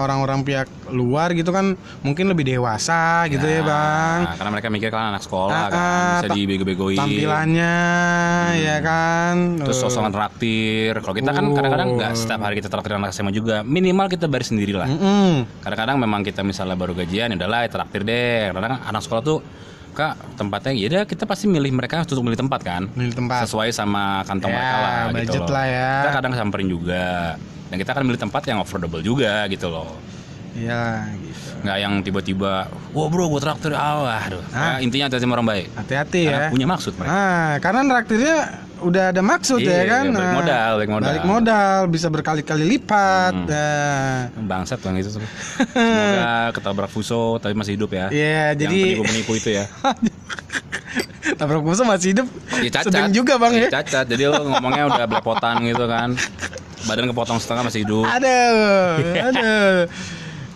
orang-orang pihak luar gitu kan mungkin lebih dewasa gitu ya bang. Nah, karena mereka mikir kan anak sekolah Ah, kan ah, bisa ta- dibego-begoin. Tampilannya Hmm. ya kan. Terus sosokan traktir. Kalau kita kan Oh. kadang-kadang nggak setiap hari kita traktir anak SMA juga. Minimal kita bayar sendiri lah. Mm-mm. Kadang-kadang memang kita misalnya baru gajian, ya udahlah ya traktir deh. Karena kan anak sekolah tuh kak tempatnya ya udah kita pasti milih mereka untuk milih tempat kan Milih tempat. sesuai sama kantong Ya, mereka lah gitu budget loh. lah ya. Kita kadang samperin juga. Dan kita akan milih tempat yang affordable juga gitu loh. Iya gitu. Nggak yang tiba-tiba, wah bro gue traktir awah. Aduh. Ah. Nah, intinya hati sama orang baik. Hati-hati Karena ya. punya maksud mereka. Ah, karena traktirnya udah ada maksud Iya, ya kan. balik Ah, modal, balik modal. Hmm. Balik modal bisa berkali-kali lipat. Ah. Bangsat bang [LAUGHS] itu. Semoga ketabrak fuso tapi masih hidup ya. Yang Iya, jadi- penipu-penipu itu [LAUGHS] ya. [LAUGHS] Tabrak musuh masih hidup. Ya, cacat. Sedang juga bang ya. Ya, cacat. Jadi lo ngomongnya udah belepotan gitu kan. Badan kepotong setengah masih hidup. Aduh, [LAUGHS] aduh.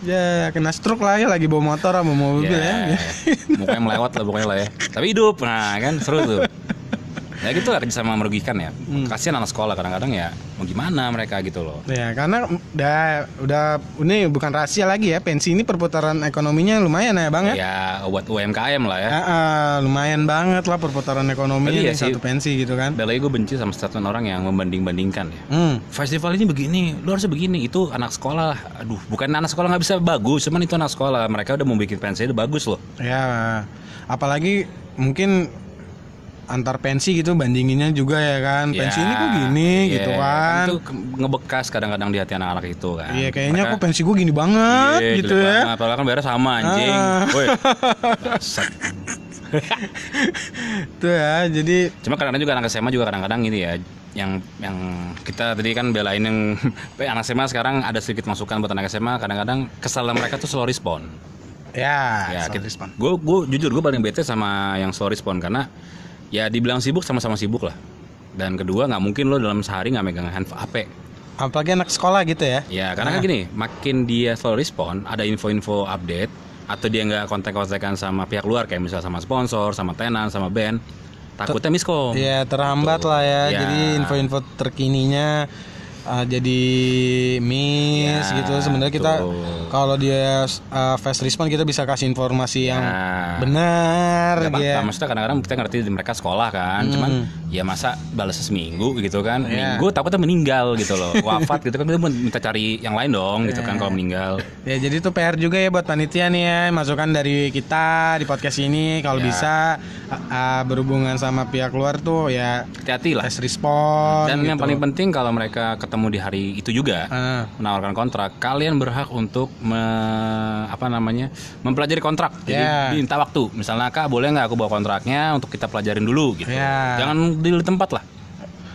Ya kena stroke lah ya lagi bawa motor sama mobil Ya, ya. mukanya melewat lah pokoknya lah ya. Tapi hidup, nah kan seru tuh. Ya gitu lah kerjasama merugikan ya. Kasihan anak sekolah kadang-kadang ya mau gimana mereka gitu loh. Ya karena udah udah ini bukan rahasia lagi ya pensi ini perputaran ekonominya lumayan ya bang ya. Ya buat UMKM lah ya. Ah, ah, lumayan banget lah perputaran ekonominya Tapi ya nih sih. satu pensi gitu kan. Dan lagi gue benci sama statement orang yang membanding-bandingkan ya. Hmm. Festival ini begini, lu harusnya begini. Itu anak sekolah lah. Aduh, bukan anak sekolah nggak bisa bagus, cuman itu anak sekolah. Mereka udah mau bikin pensi udah bagus loh. Ya apalagi mungkin antar pensi gitu bandinginnya juga ya kan. Pensi Ya, ini kok gini iya. gitu kan. Itu ke- ngebekas kadang-kadang di hati anak-anak itu kan. Iya kayaknya Mereka- kok pensi gue gini banget Iya, gitu jelek ya. banget. Padahal kan bayarnya sama anjing. Ah. [LAUGHS] Woi. Bangsat. Tuh ya jadi Cuma kadang-kadang juga anak SMA juga kadang-kadang ini ya yang yang kita tadi kan belain yang [LAUGHS] anak SMA sekarang ada sedikit masukan buat anak SMA kadang-kadang kesalahan mereka tuh slow respon. Ya, Ya, soal kita, respon. gue gue jujur gue paling bete sama yang slow respon karena ya dibilang sibuk sama-sama sibuk lah. Dan kedua nggak mungkin lo dalam sehari nggak megang handphone HP. Apalagi anak sekolah gitu ya. Ya, karena kan gini, makin dia slow respon, ada info-info update atau dia nggak kontak-kontakan sama pihak luar kayak misalnya sama sponsor, sama tenan, sama band, takutnya miskom. Iya, terhambat lah ya. Ya. Jadi info-info terkininya uh, jadi miss Ya, gitu. Sebenarnya kita betul. kalau dia uh, fast respon kita bisa kasih informasi yang Nah, benar nggak ya. apa-apa. Maksudnya kadang-kadang kita ngerti di mereka sekolah kan, Hmm. cuman ya masa balas seminggu gitu kan, Ya. minggu takutnya meninggal gitu loh, wafat gitu kan, kita minta cari yang lain dong gitu Iya. kan kalau meninggal. Ya jadi itu PR juga ya buat panitia nih ya masukan dari kita di podcast ini Iya. kalau bisa uh, uh, berhubungan sama pihak luar tuh ya Hati-hati lah. fast respon. Dan yang gitu. paling penting kalau mereka ketemu di hari itu juga, Ah. menawarkan kontrak, kalian berhak untuk me- apa namanya mempelajari kontrak. Jadi Ya. minta waktu. Misalnya kak boleh nggak aku bawa kontraknya untuk kita pelajarin dulu gitu. Ya. Jangan di tempat lah.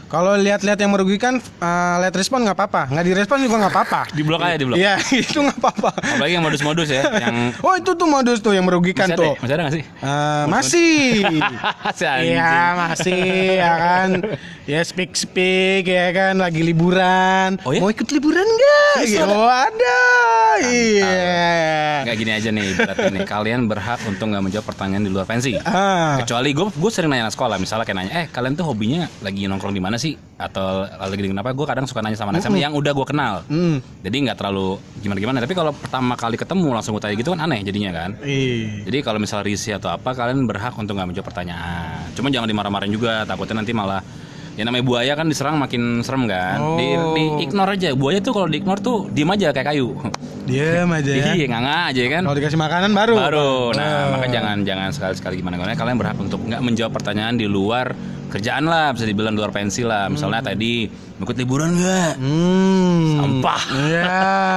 Kalau lihat-lihat yang merugikan, uh, lihat respon nggak apa-apa, nggak direspon juga nggak apa-apa. [LAUGHS] Di blok aja di blok. Iya, [LAUGHS] itu nggak apa-apa. Apalagi yang modus-modus ya, [LAUGHS] yang Oh itu tuh modus tuh yang merugikan Masih ada Kan tuh. ya? Masih ada nggak sih? [LAUGHS] Eh, masih. Si [LAUGHS] anjing. Iya masih ya kan Ya speak speak ya kan Lagi liburan Oh, ya? Mau ikut liburan gak? oh ada Iya Nggak gini aja nih, berarti nih kalian berhak untuk nggak menjawab pertanyaan di luar pensi. Ah, Kecuali gue gue sering nanya anak sekolah misalnya kayak nanya, eh kalian tuh hobinya lagi nongkrong di mana sih? Atau lagi di kenapa? Gue kadang suka nanya sama anak SMA yang udah gue kenal. hmm. Jadi nggak terlalu gimana-gimana. Tapi kalau pertama kali ketemu langsung gue tanya gitu kan aneh jadinya kan. Ih. Jadi kalau misalnya risih atau apa kalian berhak untuk nggak menjawab pertanyaan. Cuma jangan dimarah-marahin juga. Takutnya nanti malah Ya namanya buaya kan diserang makin serem kan. Di, Oh. di ignore aja. Buaya tuh kalau di ignore tuh diem aja kayak kayu. [LAUGHS] Diam aja ya. Iya, nganga aja kan. Kalau dikasih makanan baru. Baru. Nah, Eh. maka jangan jangan sekali-sekali gimana gimana kalian berhak untuk nggak menjawab pertanyaan di luar kerjaan lah, bisa dibilang di luar pensi lah. Misalnya tadi ikut liburan nggak? Hmm. Sampah. Iya.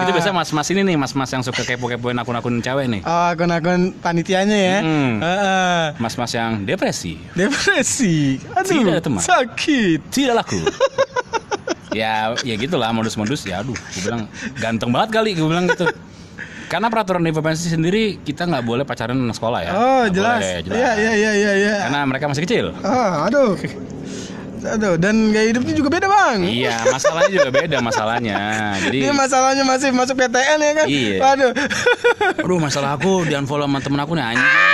Itu biasa mas-mas ini nih, mas-mas yang suka kepo-kepoin akun-akun cewek nih. Oh, akun-akun panitianya ya. Mm. Heeh. Mas-mas yang depresi, Depresi. Aduh. Tidak, teman. Sakit. tidak [LAUGHS] laku. ya, ya gitulah modus-modus ya. Aduh, gue bilang ganteng banget kali, gue bilang gitu. Karena peraturan di Provinsi sendiri kita nggak boleh pacaran anak sekolah ya. Oh, Nggak jelas. boleh, jelas. Iya, iya, iya, iya, iya. Karena mereka masih kecil. Ah, aduh. Aduh, dan gaya hidupnya juga beda, Bang. Iya, masalahnya juga beda masalahnya. Jadi, Ini masalahnya masih masuk PTN ya kan? Iya. Waduh. [LAUGHS] aduh masalah aku di unfollow sama temen aku nih anjing. Ah!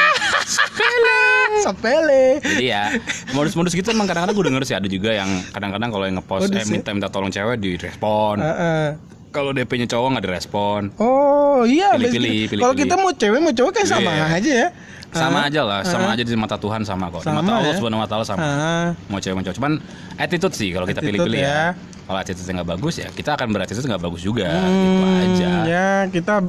Sepele. Jadi ya modus-modus gitu emang kadang-kadang gue denger sih ada juga yang kadang-kadang kalau yang ngepost eh, Modus ya? minta minta tolong cewek direspon. Heeh. Kalau DP-nya cowok nggak direspon. Oh, iya. Pilih-pilih, basically. pilih-pilih. Kalau kita mau cewek mau cowok kan sama Iya. aja ya. Sama aja lah, sama aja di mata Tuhan sama kok. Di Sama mata Allah ya. Subhanahu wa taala sama. Ah. Mau cewek mau cowok. Cuman attitude sih kalau kita Attitude pilih-pilih ya. ya. Kalau attitude nggak bagus ya, kita akan berattitude nggak bagus juga gitu aja. Hmm, Ya, kita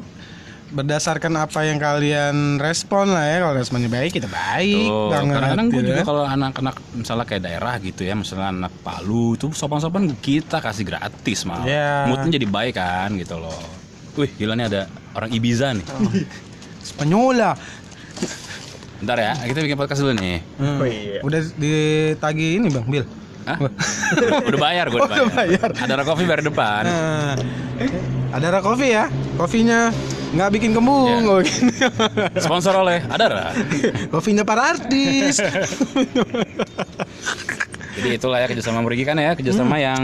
berdasarkan apa yang kalian respon lah ya. Kalau responnya baik, kita baik Tuh, banget. kadang-kadang gue gitu juga ya. kalau anak-anak misalnya kayak daerah gitu ya misalnya anak Palu itu sopan-sopan kita kasih gratis malah Iya. moodnya jadi baik kan gitu loh wih gila nih ada orang Ibiza nih Oh. Spanyola. ntar ya kita bikin podcast dulu nih Hmm. Udah ditagi ini, Bang Bil. [LAUGHS] Hah? udah bayar gue udah Oh, udah bayar. ada rokok bayar depan Nah, ada ada kopi ya? Kopinya nggak bikin kembung. Ya. oh, gini. sponsor oleh Adara [LAUGHS] Kopinya para [LAUGHS] artis. jadi itulah ya kerjasama merugikan ya Hmm. kerjasama yang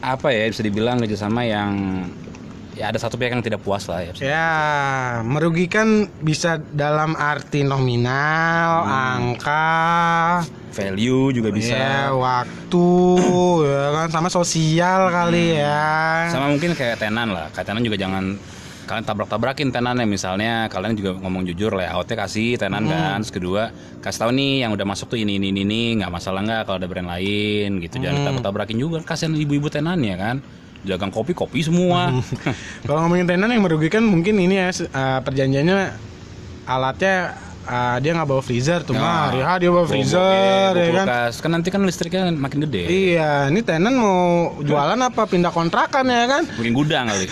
apa ya bisa dibilang kerjasama yang ya ada satu pihak yang tidak puas lah ya Iya. ya, merugikan bisa dalam arti nominal, Hmm. angka, value juga bisa ya, waktu, ya kan sama sosial kali ya. sama mungkin kayak tenan lah kayak tenan juga jangan kalian tabrak-tabrakin tenannya misalnya kalian juga ngomong jujur layoutnya kasih tenan Hmm. kan terus kedua kasih tahu nih yang udah masuk tuh ini ini ini, ini nggak masalah nggak kalau ada brand lain gitu jangan Hmm. ditabrak-tabrakin juga kasihan ibu-ibu tenannya kan dagang kopi kopi [LAUGHS] semua Kalau ngomongin tenan yang merugikan mungkin ini ya se- eh, perjanjiannya alatnya eh, dia nggak bawa freezer tuh Mar. Ya, dia bawa Bawa- freezer bawa ya kan. kulkas. kan nanti kan listriknya makin gede Iya, ini tenan mau jualan apa pindah kontrakan ya kan? [LAUGHS] bikin gudang kali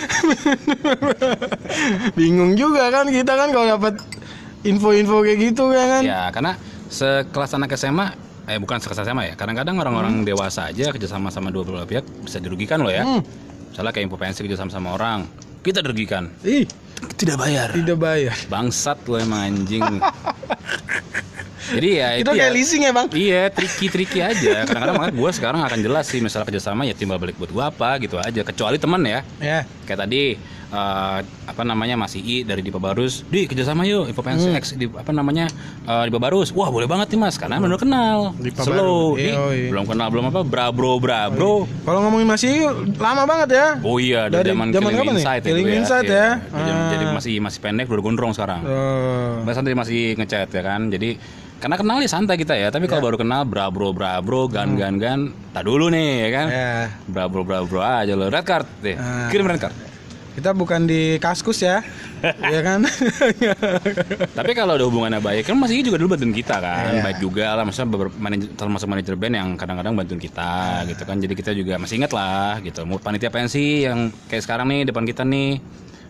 Bingung juga kan kita kan kalau dapat info-info kayak gitu ya kan? ya karena sekelas anak SMA eh bukan sekelas SMA ya kadang-kadang orang-orang dewasa aja kerjasama sama dua belah pihak bisa dirugikan loh ya misalnya kayak impopensi kerjasama sama orang kita dirugikan Ih, tidak bayar tidak bayar. bangsat lo emang [LAUGHS] anjing jadi ya Kita ya kayak leasing ya, Bang. iya triki-triki aja kadang-kadang makanya gue sekarang akan jelas sih misalnya kerjasama ya timbal balik buat gue apa gitu aja kecuali teman ya Ya. kayak tadi eh, apa namanya Mas II dari Dipa Barus di kerjasama yuk Info Pensi Hmm. X di apa namanya eh, Dipa Barus wah boleh banget nih Mas karena baru kenal Dipa slow Barus. Di, iya, Yoi. belum kenal belum apa brabro brabro Kalau ngomongin masih lama banget ya. oh iya dari iya. Dari zaman zaman Killing kapan nih? Inside itu Killing Inside Iya, ya. dari zaman- jadi masih masih pendek udah gondrong sekarang Eh, Bahkan tadi masih ngechat ya kan jadi karena kenal ya santai kita ya tapi Iya. kalau baru kenal brabro brabro Hmm. gan gan gan tak dulu nih ya kan ya. brabro brabro aja lo red card deh Ah. kirim red card Kita bukan di kaskus [LAUGHS] ya. Iya kan? Tapi kalau ada hubungannya baik, kan Mas Iki juga dulu bantuin kita kan, Iya. baik juga lah. Maksudnya beber- manajer- termasuk manajer band yang kadang-kadang bantuin kita gitu kan. Jadi kita juga masih inget lah gitu. Mau panitia pensi yang kayak sekarang nih depan kita nih.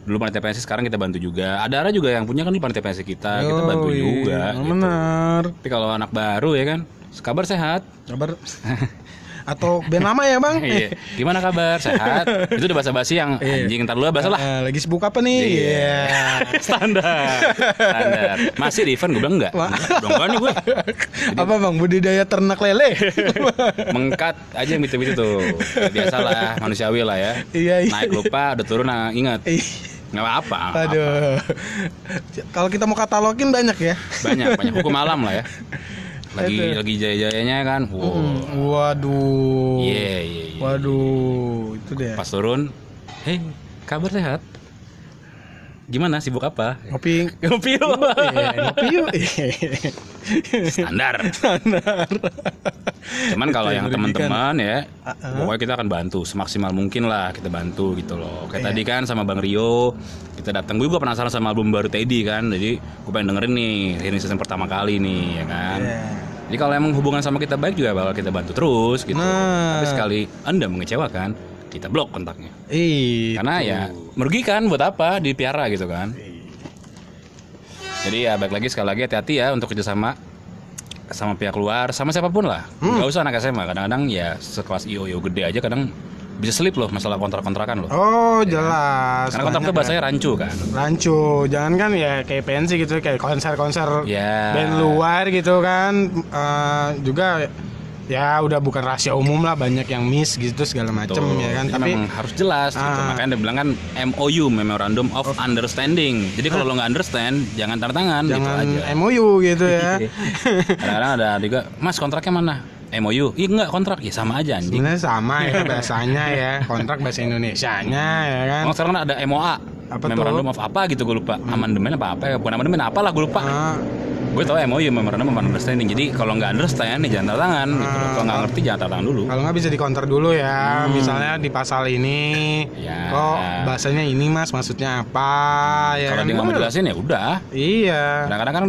Dulu panitia pensi sekarang kita bantu juga. Ada Ara juga yang punya kan dulu panitia pensi kita, kita bantu Yoi, juga. gitu. Benar. Tapi kalau anak baru ya kan, kabar sehat. Kabar atau band lama ya, Bang? Iya. Gimana kabar? Sehat. Itu udah basa-basi yang Iya. anjing entar dulu basa lah. Eh, lagi sibuk apa nih? Iya. Standar. Standar. Masih di event gue bilang enggak. Enggak, enggak nih gue. Apa Bang budidaya ternak [LAUGHS] lele? mengkat aja yang gitu-gitu tuh biasalah manusiawi lah ya Iya, iya. naik lupa udah turun nah, ingat nggak apa-apa Aduh. Kalau kita mau katalogin banyak ya. banyak banyak hukum malam lah ya lagi lagi jaya-jayanya kan wow Waduh. iya iya iya. Waduh, itu deh. pas turun hei kabar sehat Gimana sibuk apa? Ngopi. Ngopi lu. Iya, Ngopi [LAUGHS] yuk. Standar. Cuman kalau yang merugikan. teman-teman ya, pokoknya kita akan bantu semaksimal mungkin lah kita bantu gitu loh. Iya. Kayak tadi kan sama Bang Rio, kita datang gue juga penasaran sama album baru Teddy kan. Jadi gue pengen dengerin nih, ini season pertama kali nih ya kan. Iya. Jadi kalau emang hubungan sama kita baik juga bakal kita bantu terus gitu. Nah. Tapi sekali Anda mengecewakan, kita blok kontaknya. Ih. Karena ya merugikan buat apa dipiara gitu kan. Jadi ya baik lagi sekali lagi hati-hati ya untuk kerjasama sama pihak luar sama siapapun lah. Hmm. Gak usah anak SMA kadang-kadang ya sekelas IO IO gede aja kadang bisa slip loh masalah kontrak-kontrakan loh. Oh, ya. Iya. jelas. Karena kontrak Banyak tuh bahasanya rancu kan. rancu jangan kan ya kayak pensi gitu kayak konser-konser Ya. band luar gitu kan Eh, juga ya udah bukan rahasia umum lah banyak yang miss gitu segala macem Tuh, ya kan jadi tapi memang harus jelas gitu. Ah. Makanya dia bilang kan MOU Memorandum of Understanding. Jadi kalau lo nggak understand jangan tanda tangan gitu jangan [LAUGHS] aja. Iya. MOU gitu ya Kadang-kadang ada juga, "Mas, kontraknya mana?" MOU. Iya enggak kontrak. Ya sama aja anjing. sebenarnya sama ya bahasanya ya kontrak bahasa Indonesianya ya kan Oh, sekarang ada MOA. Apa tuh? Memorandum of apa gitu gue lupa. Amandemen apa apa? ya? Bukan amandemen apalah gue lupa. Ah, Gue tahu MOU ya, Memorandum of Understanding. Jadi kalau nggak understand nih jangan tanda tangan gitu. loh. Kalau nggak ngerti jangan tanda tangan dulu. kalau nggak bisa dikonter dulu ya misalnya di pasal ini Hmm. Ya. kok bahasanya ini mas maksudnya apa ya Kalau kan? dia nggak mau Bener. jelasin ya udah. iya Kadang-kadang kan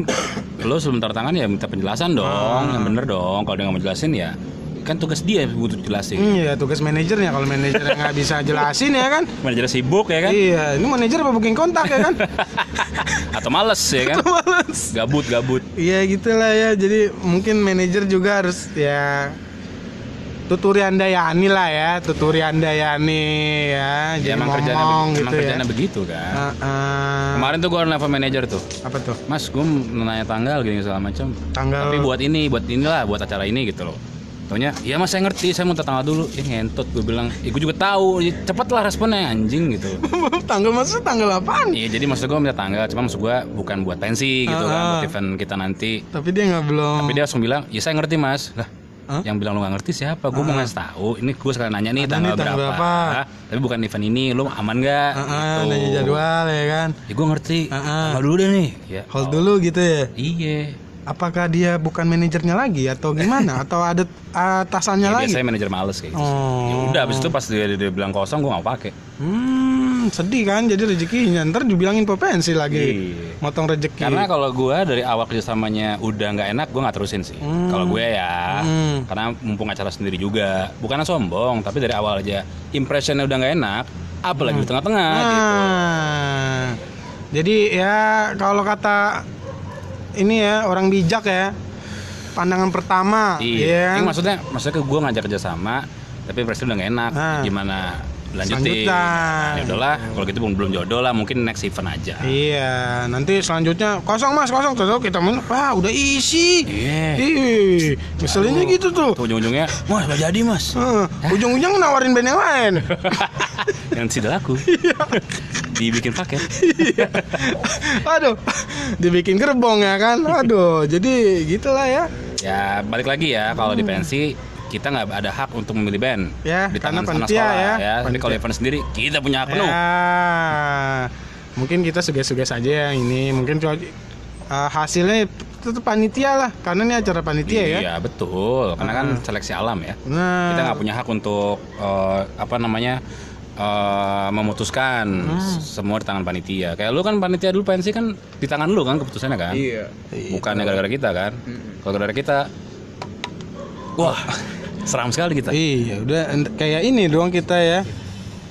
lo sebelum tanda tangan ya minta penjelasan dong, Ah. yang bener dong. Kalau dia nggak mau jelasin ya kan tugas dia yang butuh jelasin. Hmm, ya tugas manajernya kalau manajer yang nggak bisa jelasin ya kan. Manajer sibuk ya kan? Iya, ini manajer apa booking kontak ya [LAUGHS] kan? Atau males ya kan? Males. Gabut gabut. Iya gitulah ya. Jadi mungkin manajer juga harus ya tuturi andayani lah ya, tuturi andayani ya. Jadi Ya, emang ngomong kerjanya gitu emang ya. kerjanya begitu kan. Ah, ah. Kemarin tuh gue nelfon manajer tuh. apa tuh? Mas, gue nanya tanggal gini segala macam. Tanggal Tapi buat ini, buat inilah, buat acara ini gitu loh. Taunya, ya mas saya ngerti, saya mau tanggal dulu. Ya ngentot, gue bilang, ya gue juga tahu. Ya, Cepetlah responnya anjing [LAUGHS] gitu. [LAUGHS] tanggal maksudnya tanggal apaan? Iya, jadi maksud gue minta tanggal, cuma maksud gue bukan buat pensi gitu kan, Ah. buat event kita nanti. Tapi dia nggak belum. Tapi dia langsung bilang, ya saya ngerti mas. Lah, Hah? Ah. yang bilang lu gak ngerti siapa? Gue mau ngasih tahu. Ini gue sekalian nanya nih Ada tanggal, nih tanggal berapa. berapa. Ah, Tapi bukan event ini, lu aman gak? Ah, ah, gitu. nanya jadwal ya kan. Ya gue ngerti. Ah, ah. Tanggal dulu deh nih. Ya, Hold dulu gitu ya. Iya. Apakah dia bukan manajernya lagi atau [LAUGHS] gimana? atau ada atasannya Ya, lagi? biasanya manajer males kayak gitu. Oh. Ya udah abis itu pas dia, dia, dia bilang kosong gue gak pakai. Hmm, sedih kan jadi rezekinya ntar dibilangin potensi lagi. Iya. Motong rezeki. Karena kalau gue dari awal kerjasamanya udah nggak enak gue nggak terusin sih. Kalau gue ya, Hmm. karena mumpung acara sendiri juga, bukan sombong, tapi dari awal aja impressionnya udah nggak enak, apalagi Hmm. di tengah-tengah. gitu. Nah, Ah. Jadi ya kalau kata ini ya orang bijak ya. Pandangan pertama Iya. ya kan? Ini maksudnya, maksudnya ke gue ngajak kerjasama, tapi impression udah nggak enak. Ah. Gimana lanjutin? Lanjutkan. Ya udahlah, kalau gitu belum belum jodoh lah, mungkin next event aja. Iya, nanti selanjutnya kosong Mas, kosong tuh tuh, kita men wah udah isi. Iya. Ih, misalnya gitu tuh. Tuh Ujung-ujungnya, mas nggak jadi mas. [LAUGHS] Heeh, ujung-ujung nawarin band yang [LAUGHS] lain. yang tidak laku Iya. dibikin paket Aduh, dibikin gerbong ya kan. Aduh, jadi gitulah ya. ya balik lagi ya kalau di pensi kita nggak ada hak untuk memilih band Hmm. Ya, di tangan karena sana panitia sekolah ya. ya, tapi kalau event sendiri kita punya hak penuh Ya, mungkin kita suges-suges aja yang ini. Mungkin co- eh, hasilnya tetap panitia lah, karena ini acara panitia ya. Hmm. iya betul karena kan seleksi alam ya Nah, kita nggak punya hak untuk eh, apa namanya eh, memutuskan Hmm. s- semua di tangan panitia kayak lu kan panitia dulu pensi kan di tangan lu kan keputusannya kan Iya. bukannya gara-gara kita kan Hmm. kalau gara-gara kita wah [LAUGHS] seram sekali kita iya udah en- kayak ini doang kita ya.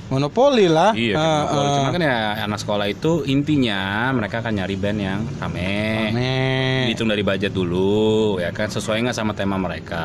Monopoli lah. Iya, kan Eh, monopoli. eh, Cuman kan ya anak sekolah itu intinya mereka akan nyari band yang rame. aneh. Dihitung dari budget dulu, ya kan sesuai nggak sama tema mereka.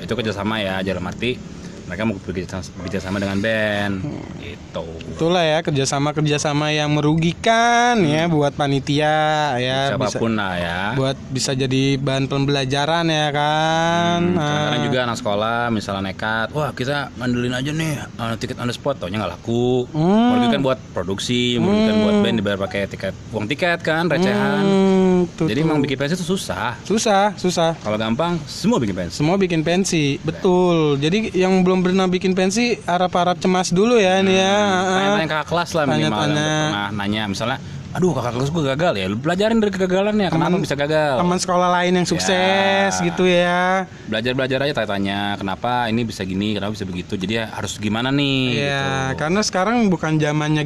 Itu kerjasama ya, dalam arti mereka mau bekerja- bekerjasama dengan band, Hmm. gitu. Itulah ya kerjasama kerjasama yang merugikan ya buat panitia ya Hmm. bisa, Siapapun lah ya. buat bisa jadi bahan pembelajaran ya kan. Kadang juga anak sekolah misalnya nekat, wah kita ngandelin aja nih uh, tiket on the spot, taunya nggak laku. Hmm. Merugikan buat produksi, merugikan buat band dibayar pakai tiket uang tiket kan, recehan. Hmm, tuh, Jadi emang bikin pensi itu susah. susah susah Kalau gampang, semua bikin pensi. semua bikin pensi betul jadi yang belum pernah bikin pensi harap harap cemas dulu ya ini ya Hmm, Tanya-tanya kakak kelas lah minimal yang Eh, Tanya-tanya. udah pernah nanya misalnya aduh kakak kelas gue gagal ya lu pelajarin dari kegagalannya kenapa bisa gagal Teman sekolah lain yang sukses Ya. gitu ya. belajar belajar aja tanya-tanya kenapa ini bisa gini kenapa bisa begitu jadi ya harus gimana nih Iya, gitu. karena sekarang bukan zamannya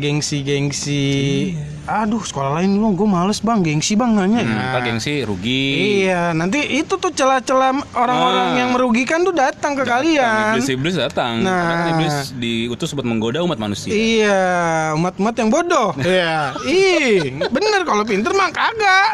gengsi-gengsi. Iya. Aduh, sekolah lain lu gue males bang, gengsi bang nanya. Hmm, Nah, ntar gengsi rugi Iya, nanti itu tuh celah-celah orang-orang Ah. yang merugikan tuh datang ke kalian. iblis-iblis datang Nah. karena kan iblis diutus buat menggoda umat manusia Iya, umat-umat yang bodoh. Nah. Iya. Ih, bener kalau pinter mah kagak.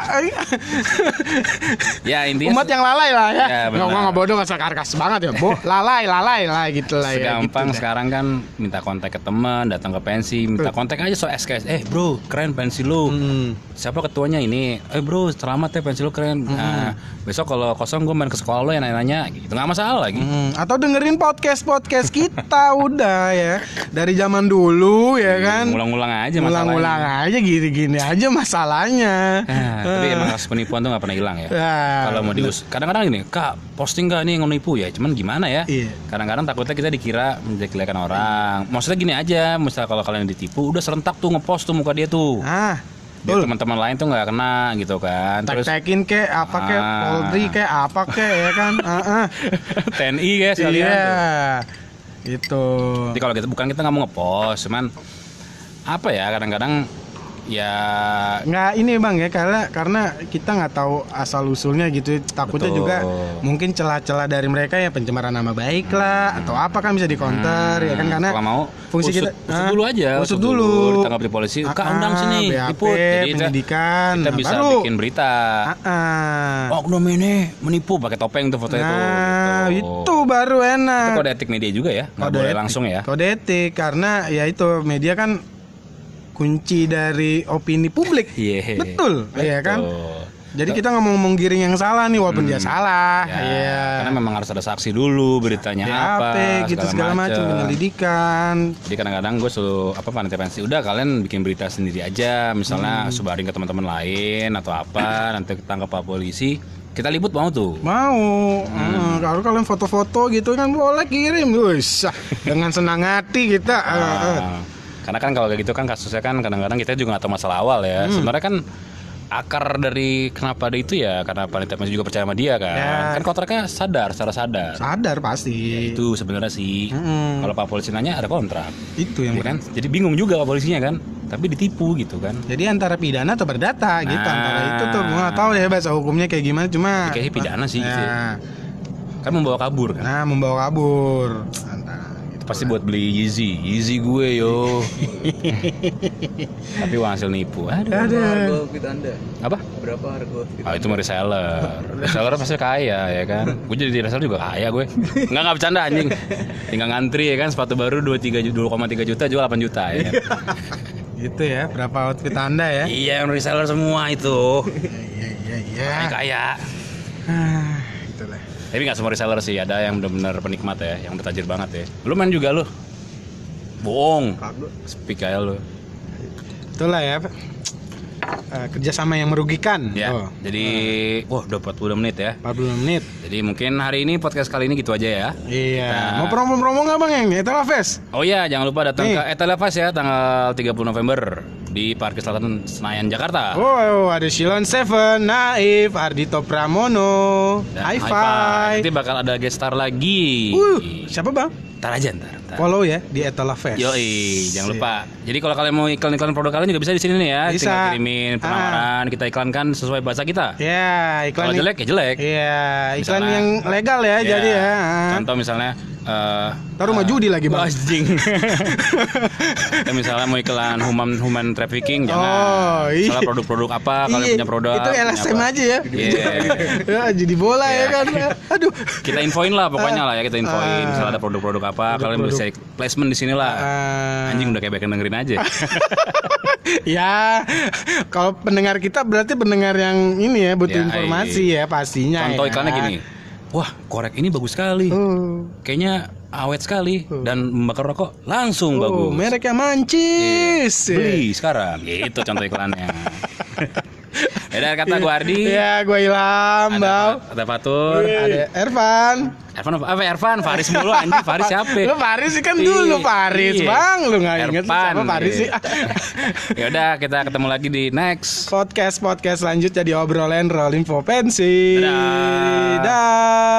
ya intinya umat se- yang lalai lah ya. Ya, Nggak, gua benar. nggak bodoh nggak sarkas banget ya, [LAUGHS] Bo. Lalai, lalai lah gitu lah ya. segampang gitu deh. sekarang kan minta kontak ke teman datang ke pensi minta kontak aja soal SKS eh bro keren pensi lu Hmm. siapa ketuanya ini eh bro selamat ya pensi lu keren Mm-hmm. nah, besok kalau kosong gue main ke sekolah lo yang nanya gitu nggak masalah gitu Hmm, atau dengerin podcast podcast kita [LAUGHS] udah ya dari zaman dulu ya kan Iya, ngulang-ngulang aja masalahnya ulang-ulang aja gini-gini aja masalahnya Ah, [LAUGHS] tapi emang kasus penipuan tuh nggak pernah hilang ya Ah, kalau mau dius kadang-kadang gini kak posting gak nih yang nipu ya cuman gimana ya Iya. kadang-kadang takutnya kita dikira menjelek-jelekan orang maksudnya gini aja misal kalau kalian ditipu udah serentak tuh ngepost tuh muka dia tuh ah Biar teman-teman lain tuh nggak kena gitu kan Gitu, terus tek-tekin kek apa kek Ah. polri kek apa kek ya kan Ah, [LAUGHS] ah. [LAUGHS] TNI guys kalian iya tuh. gitu jadi kalau kita bukan kita nggak mau ngepost cuman apa ya kadang-kadang ya nggak ini bang ya karena karena kita nggak tahu asal usulnya gitu takutnya Betul. juga mungkin celah-celah dari mereka ya pencemaran nama baik lah atau apa kan bisa dikonter ya kan karena Hmm, kalau mau fungsi usut, kita usut Ah, dulu aja usut dulu ditangkap di polisi kak Ah, undang sini BAP, liput jadi kita, penyidikan kita Nah, bisa baru bikin berita Ah, ah. oknum ini menipu pakai topeng tuh foto Oh, itu nah itu, gitu. baru itu enak kode etik media juga ya nggak boleh etik. langsung ya kode etik karena ya itu media kan kunci dari opini publik Iya. betul, ya kan Tuh. jadi kita nggak mau ngomong giring yang salah nih walaupun dia salah Ya, Iya. karena memang harus ada saksi dulu beritanya apa BAP gitu segala macam macem. penyelidikan jadi kadang-kadang gue selalu apa panitia pensi udah kalian bikin berita sendiri aja misalnya sebarin ke teman-teman lain atau apa nanti ketangkap pak polisi kita liput mau tuh mau Hmm. Eh, kalau kalian foto-foto gitu kan boleh kirim Wis, ah, dengan senang hati [LAUGHS] kita Eh, eh. Ah, karena kan kalau kayak gitu kan kasusnya kan kadang-kadang kita juga nggak tahu masalah awal ya. Sebenarnya kan akar dari kenapa ada itu ya karena panitia masih juga percaya sama dia kan. Ya. Kan kontraknya sadar secara sadar. sadar pasti itu. Ya, Itu sebenarnya sih. Mm. Kalau Pak Polisi nanya ada kontrak, yang ya Hmm. kan? Jadi bingung juga Pak Polisinya kan. Tapi ditipu gitu kan. jadi antara pidana atau perdata gitu Nah. antara itu tuh gua nggak tahu deh bahasa hukumnya kayak gimana cuma Kayaknya pidana sih gitu. ya. nah, Kan membawa kabur kan. nah membawa kabur antara gitu. Pasti buat beli Yeezy, Yeezy gue yo. Tapi uang hasil nipu. Aduh. ada harga outfit anda Apa? berapa harga outfit Ah itu mah reseller. Reseller pasti kaya ya kan. Gue jadi reseller juga kaya gue. Enggak enggak bercanda anjing. Tinggal ngantri ya kan sepatu baru 2 3 2,3 juta jual 8 juta ya. kan? gitu ya berapa outfit anda ya [LAUGHS] iya, yang reseller semua itu. iya iya iya Kaya. kaya. Ah, itulah Tapi enggak semua reseller sih, ada yang benar-benar penikmat ya, yang udah tajir banget ya. Lu main juga lu. Bohong. Kagak. Speak aja lu. itulah ya Eh, kerjasama yang merugikan Oh. Ya. Tuh, Jadi, wah udah 40 menit ya. 40 menit Jadi mungkin hari ini podcast kali ini gitu aja ya. Iya. Nah. Mau promo-promo nggak bang yang itu lah Fes? Oh iya, jangan lupa datang Nih. ke Etalafas ya tanggal 30 November di Parkir Selatan Senayan Jakarta. Wow, ada Shilon Seven, Naif, Ardito Pramono, Dan high High five. Five. Nanti bakal ada guest star lagi. Uh, siapa bang? Ntar aja ntar. ntar. Follow ya di Etala Fest. Yoi, jangan lupa. Jadi kalau kalian mau iklan-iklan produk kalian juga bisa di sini nih ya. Bisa. Ah. Tinggal kirimin penawaran, kita iklankan sesuai bahasa kita. Ya, Kalau iklan jelek ya jelek. Iya, iklan Misalnya- yang legal ya, Ya, jadi ya. Contoh misalnya eh, Taruh maju judi lagi bang. Anjing. [LAUGHS] ya, misalnya mau iklan human human trafficking jangan. Oh, iya. Misalnya produk-produk apa kalian ah, punya produk. Itu punya LSM apa. aja ya. Iya. [LAUGHS] ya jadi bola ya Iya. [LAUGHS] kan. Aduh. Kita infoin lah pokoknya lah ya kita infoin Ah. misalnya ada produk-produk apa kalian bisa placement di sini lah. Ah. Anjing udah kayak bagian dengerin aja. ya, kalau pendengar kita berarti pendengar yang ini ya butuh Ya, informasi ya pastinya. Contoh [LAUGHS] ya. iklannya gini. Wah, korek ini bagus sekali. Oh, Kayaknya awet sekali dan membakar rokok langsung oh, bagus. Iya. merek yang mancis. Ya, [LAUGHS] Beli sekarang. Gitu contoh iklannya. Ada kata gua Ardi. Iya, gue Ilham, Ada, Bau. ada Fatur. Ada Ervan. Ervan apa? apa Ervan, Faris mulu anjing, Faris siapa? [LAUGHS] Lu Paris sih kan Iya. dulu Paris, Iya. Bang. Lu nggak inget Ervan, siapa Paris iya. [LAUGHS] sih? ya udah kita ketemu lagi di next. Podcast podcast lanjut jadi obrolan rolling for pensi. Dadah. Dah.